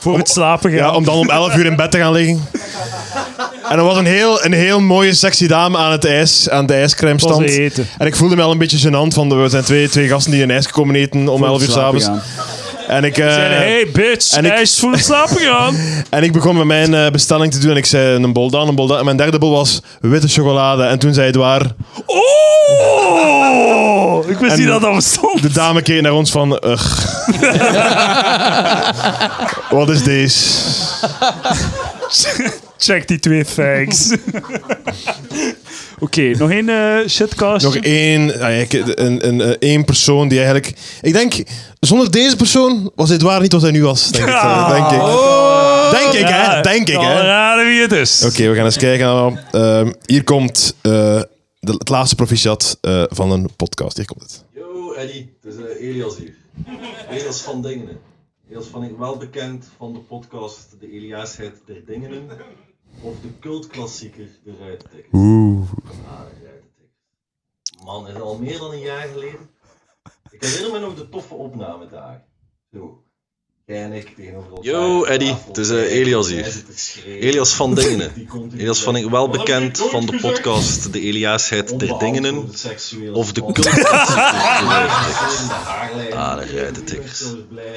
S2: Voor het slapen gaan.
S3: Ja, om dan om 11 uur in bed te gaan liggen. En er was een heel, een heel mooie, sexy dame aan het ijs, aan de ijscrème
S2: Dat was
S3: stand.
S2: ze eten.
S3: En ik voelde me al een beetje gênant van, we zijn twee, twee gasten die een ijsje komen eten om 11 uur
S2: slapen
S3: s'avonds. En ik, eh,
S2: Zeiden, hey bitch,
S3: en ik-
S2: hij is voor het slapen gaan.
S3: en ik begon met mijn eh, bestelling te doen en ik zei een bol dan, een bol dan. En mijn derde bol was witte chocolade. En toen zei het waar,
S2: Oh! Ik wist
S3: En-
S2: niet dat dat bestond.
S3: de dame keek naar ons van, ugh. Wat is deze?
S2: Check die twee facts. Oké, nog één eh shitcast.
S3: Nog één, ah ja, ik- een, een, een, één persoon die eigenlijk... Ik denk, zonder deze persoon was dit waar niet wat hij nu was. Denk ik.
S2: Ah.
S3: Denk ik, denk ik hè. Denk ik,
S2: Al
S3: hè.
S2: raden wie het is.
S3: Oké, we gaan eens kijken. allemaal. Ehm, hier komt eh, de, het laatste proficiat eh, van een podcast. Hier komt het.
S8: Yo Eddie, het is eh, Elias hier. Elias van Dingenen. Elias van Dingenen, wel bekend van de podcast De Eliasheid der Dingenen. Of de cultklassieker De Ruitentik.
S3: Oeh.
S8: Ah, De Ruitentik. Man, is al meer dan een jaar geleden. Ik herinner me nog de toffe opnamedagen. Zo. Jij en ik tegenover elkaar.
S14: Yo, Eddy, het is eh, Elias hier. Elias van Dingenen. Elias van Dingenen, wel bekend van de podcast De Eliasheid der Dingenen. Of de cult. Ah, daar rijden de tikkers.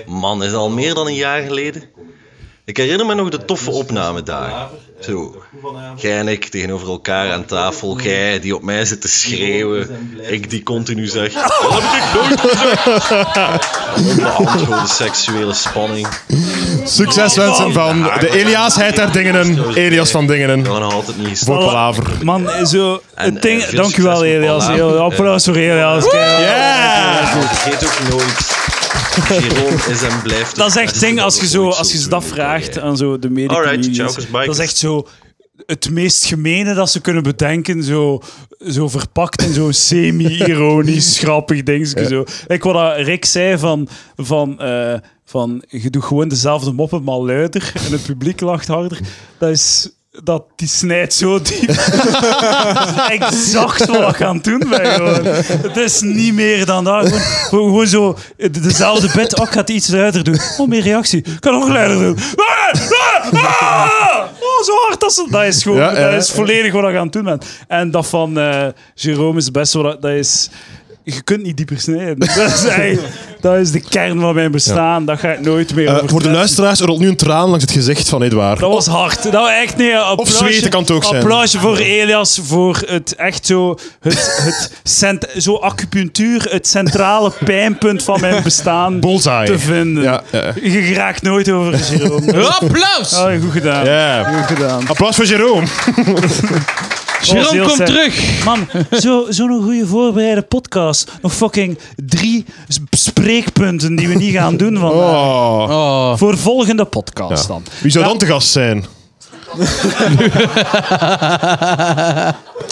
S14: Man, is al meer dan een jaar geleden. Ik herinner me nog de toffe opname daar. Zo, jij en ik tegenover elkaar aan tafel. Jij die op mij zit te schreeuwen. Eh, Ik die continu zeg... "Ah, Dat heb ik nooit gezegd. Onbeantwoorde seksuele spanning.
S3: Succes wensen van de Elias Heid der Dingenen. Elias van Dingenen.
S14: Kan altijd niet
S3: Voor Palaver.
S2: Man, zo... het ding,
S3: eh, veel
S2: dank u wel,
S3: succes met
S2: Elias.
S3: Palaver.
S2: Heel, Applaus voor Elias.
S3: Woe!
S2: Kijk,
S14: Vergeet ook nooit. Jeroen is en blijft.
S2: Dat is echt ding als je, zo, als je dat vraagt aan zo de
S14: Alright,
S2: medicus.
S14: Chokers, bikers.
S2: Dat is echt zo het meest gemene dat ze kunnen bedenken. Zo, zo verpakt in zo'n semi-ironisch, grappig ding. Zo. Like wat dat Rick zei van... van eh, van, je doet gewoon dezelfde moppen, maar luider. En het publiek lacht harder. Dat is... Dat, die snijdt zo diep. Dat is exact wat ik aan het doen ben. Gewoon. Het is niet meer dan dat. Gewoon, gewoon- gewoon zo de- dezelfde bit. Oh, ik ga het iets luider doen. Oh, meer reactie. Ik kan nog luider doen. Ah, ah, ah! Oh, zo hard als dat is gewoon.
S3: Ja, ja,
S2: dat is
S3: ja.
S2: volledig wat ik aan het doen ben. En dat van eh Jerome is best wel. Dat is. Je kunt niet dieper snijden. Dat is, eigenlijk- dat is de kern van mijn bestaan. Dat ga ik nooit meer.
S3: Eh,
S2: over-
S3: voor de luisteraars, er rolt nu een traan langs het gezicht van Edouard.
S2: dat was hard. Dat was echt nee. Applausje,
S3: zweten kan het ook zijn.
S2: Applausje voor Elias voor het echt zo het, het cent, zo acupunctuur, het centrale pijnpunt van mijn bestaan te vinden. Je raakt nooit over Jerome.
S1: Applaus!
S2: Oh, goed gedaan. Goed gedaan.
S3: Applaus voor Jerome.
S2: Dat was heel
S1: komt
S2: sad.
S1: terug.
S2: Man, zo- zo'n goede voorbereide podcast. Nog fucking drie s- spreekpunten die we niet gaan doen vandaag. Voor volgende podcast dan.
S3: Oh. Wie zou dan te gast zijn?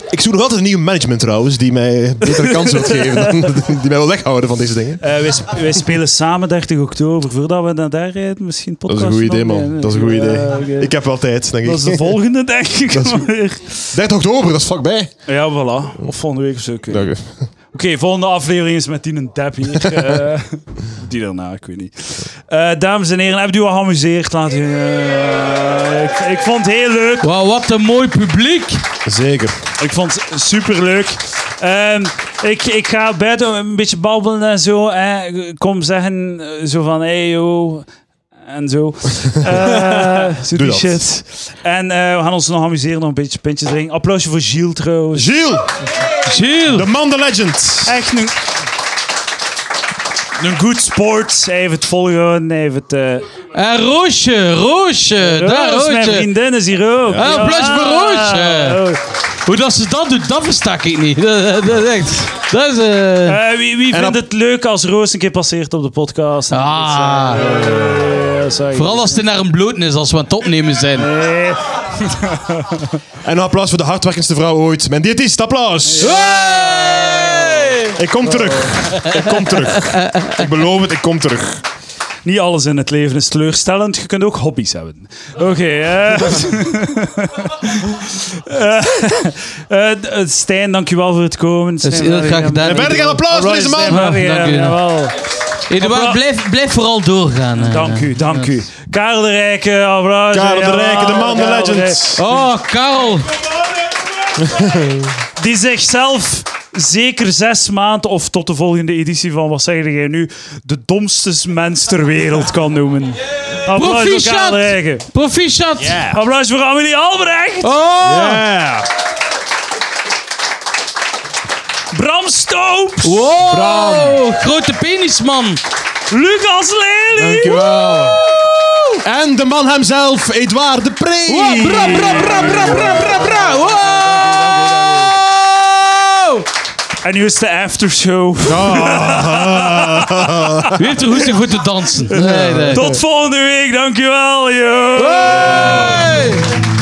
S3: Ik zoek nog altijd een nieuwe management trouwens, die mij betere kansen wil geven. dan- Die mij wil weghouden van deze dingen.
S2: Eh, wij, sp- wij spelen samen 30 oktober. Voordat we naar daar rijden, misschien
S3: Dat is
S2: podcast.
S3: een goed
S2: nog?
S3: idee,
S2: Nee,
S3: man.
S2: nee.
S3: Dat is een goed idee.
S2: Eh, oké.
S3: Ik heb wel tijd, denk ik.
S2: Dat is de volgende, denk ik.
S3: Dat is goed.
S2: maar.
S3: 30 oktober, dat is vlakbij.
S2: Ja, voilà. Of volgende week of zo. ik weet niet.
S3: Oké.
S2: Oké, volgende aflevering is met Tien Tap hier. Eh, die daarna, ik weet niet. Eh, dames en heren, heb je u al geamuseerd? Laat u, eh, ik, ik vond het heel leuk.
S1: Wauw, wat een mooi publiek.
S3: Zeker.
S2: Ik vond het superleuk. Ehm, ik, ik ga buiten een beetje babbelen en zo. Hè. Kom zeggen, eh, zo van, hey yo. En zo. Eh, zo
S3: Doe
S2: die
S3: dat.
S2: shit. En eh, we gaan ons nog amuseren, nog een beetje pintjes drinken. Applausje voor Gilles trouwens.
S3: Gilles!
S1: Gilles!
S3: De man, de legend.
S2: Echt een... Een goed sport. Hij heeft het volgehouden. Hij heeft het... eh,
S1: En Roosje, Roosje,
S2: Roos,
S1: daar Roosje.
S2: mijn vriendin is hier ook.
S1: Ah, applaus voor Roosje. Hoe dat ze dat doet, dat versta ik niet. Dat, dat, is echt- dat is... eh,
S2: Eh, wie wie
S1: en
S2: vindt
S1: dan-
S2: het leuk als Roos een keer passeert op de podcast? eh,
S1: Ah. Vooral als het naar een bloten is, als we aan het opnemen zijn.
S3: En een applaus voor de hardwerkendste vrouw ooit. Mijn diëtist, applaus. Ik kom terug. Ik kom terug. Ik beloof het, ik kom terug.
S2: Niet alles in het leven is teleurstellend. Je kunt ook hobby's hebben. Oké. eh. Eh, eh, d- eh, Stijn, dankjewel voor het komen. eh,
S1: is heel graag gedaan. En verder een applaus voor deze man. Dank u. Eduard, blijf, blijf vooral doorgaan. eh.
S2: Dank u, dank u. Karel de Rijke, applaus.
S1: Karel de Rijke, de man, de
S2: Karel
S1: legend.
S2: Rij-
S1: Oh, Karel.
S2: Die zichzelf zeker zes maanden of tot de volgende editie van Wat zeg jij nu? De domste mens ter wereld kan noemen. Applaus voor Karel de Rijke.
S1: Proficiat. Proficiat.
S2: Applaus voor Amelie Albrecht.
S1: Oh.
S2: Bram Stoops.
S1: Wow. Grote penisman.
S2: Lucas Lely.
S3: Dankjewel. En de man hemzelf, Edouard de Pre.
S1: bra, bra, bra, bra, bra, bra, bra.
S2: En nu is de aftershow.
S3: Ah.
S1: Wie heeft er goed en goed te dansen? Nee, nee.
S2: Tot volgende week, dankjewel. Yo.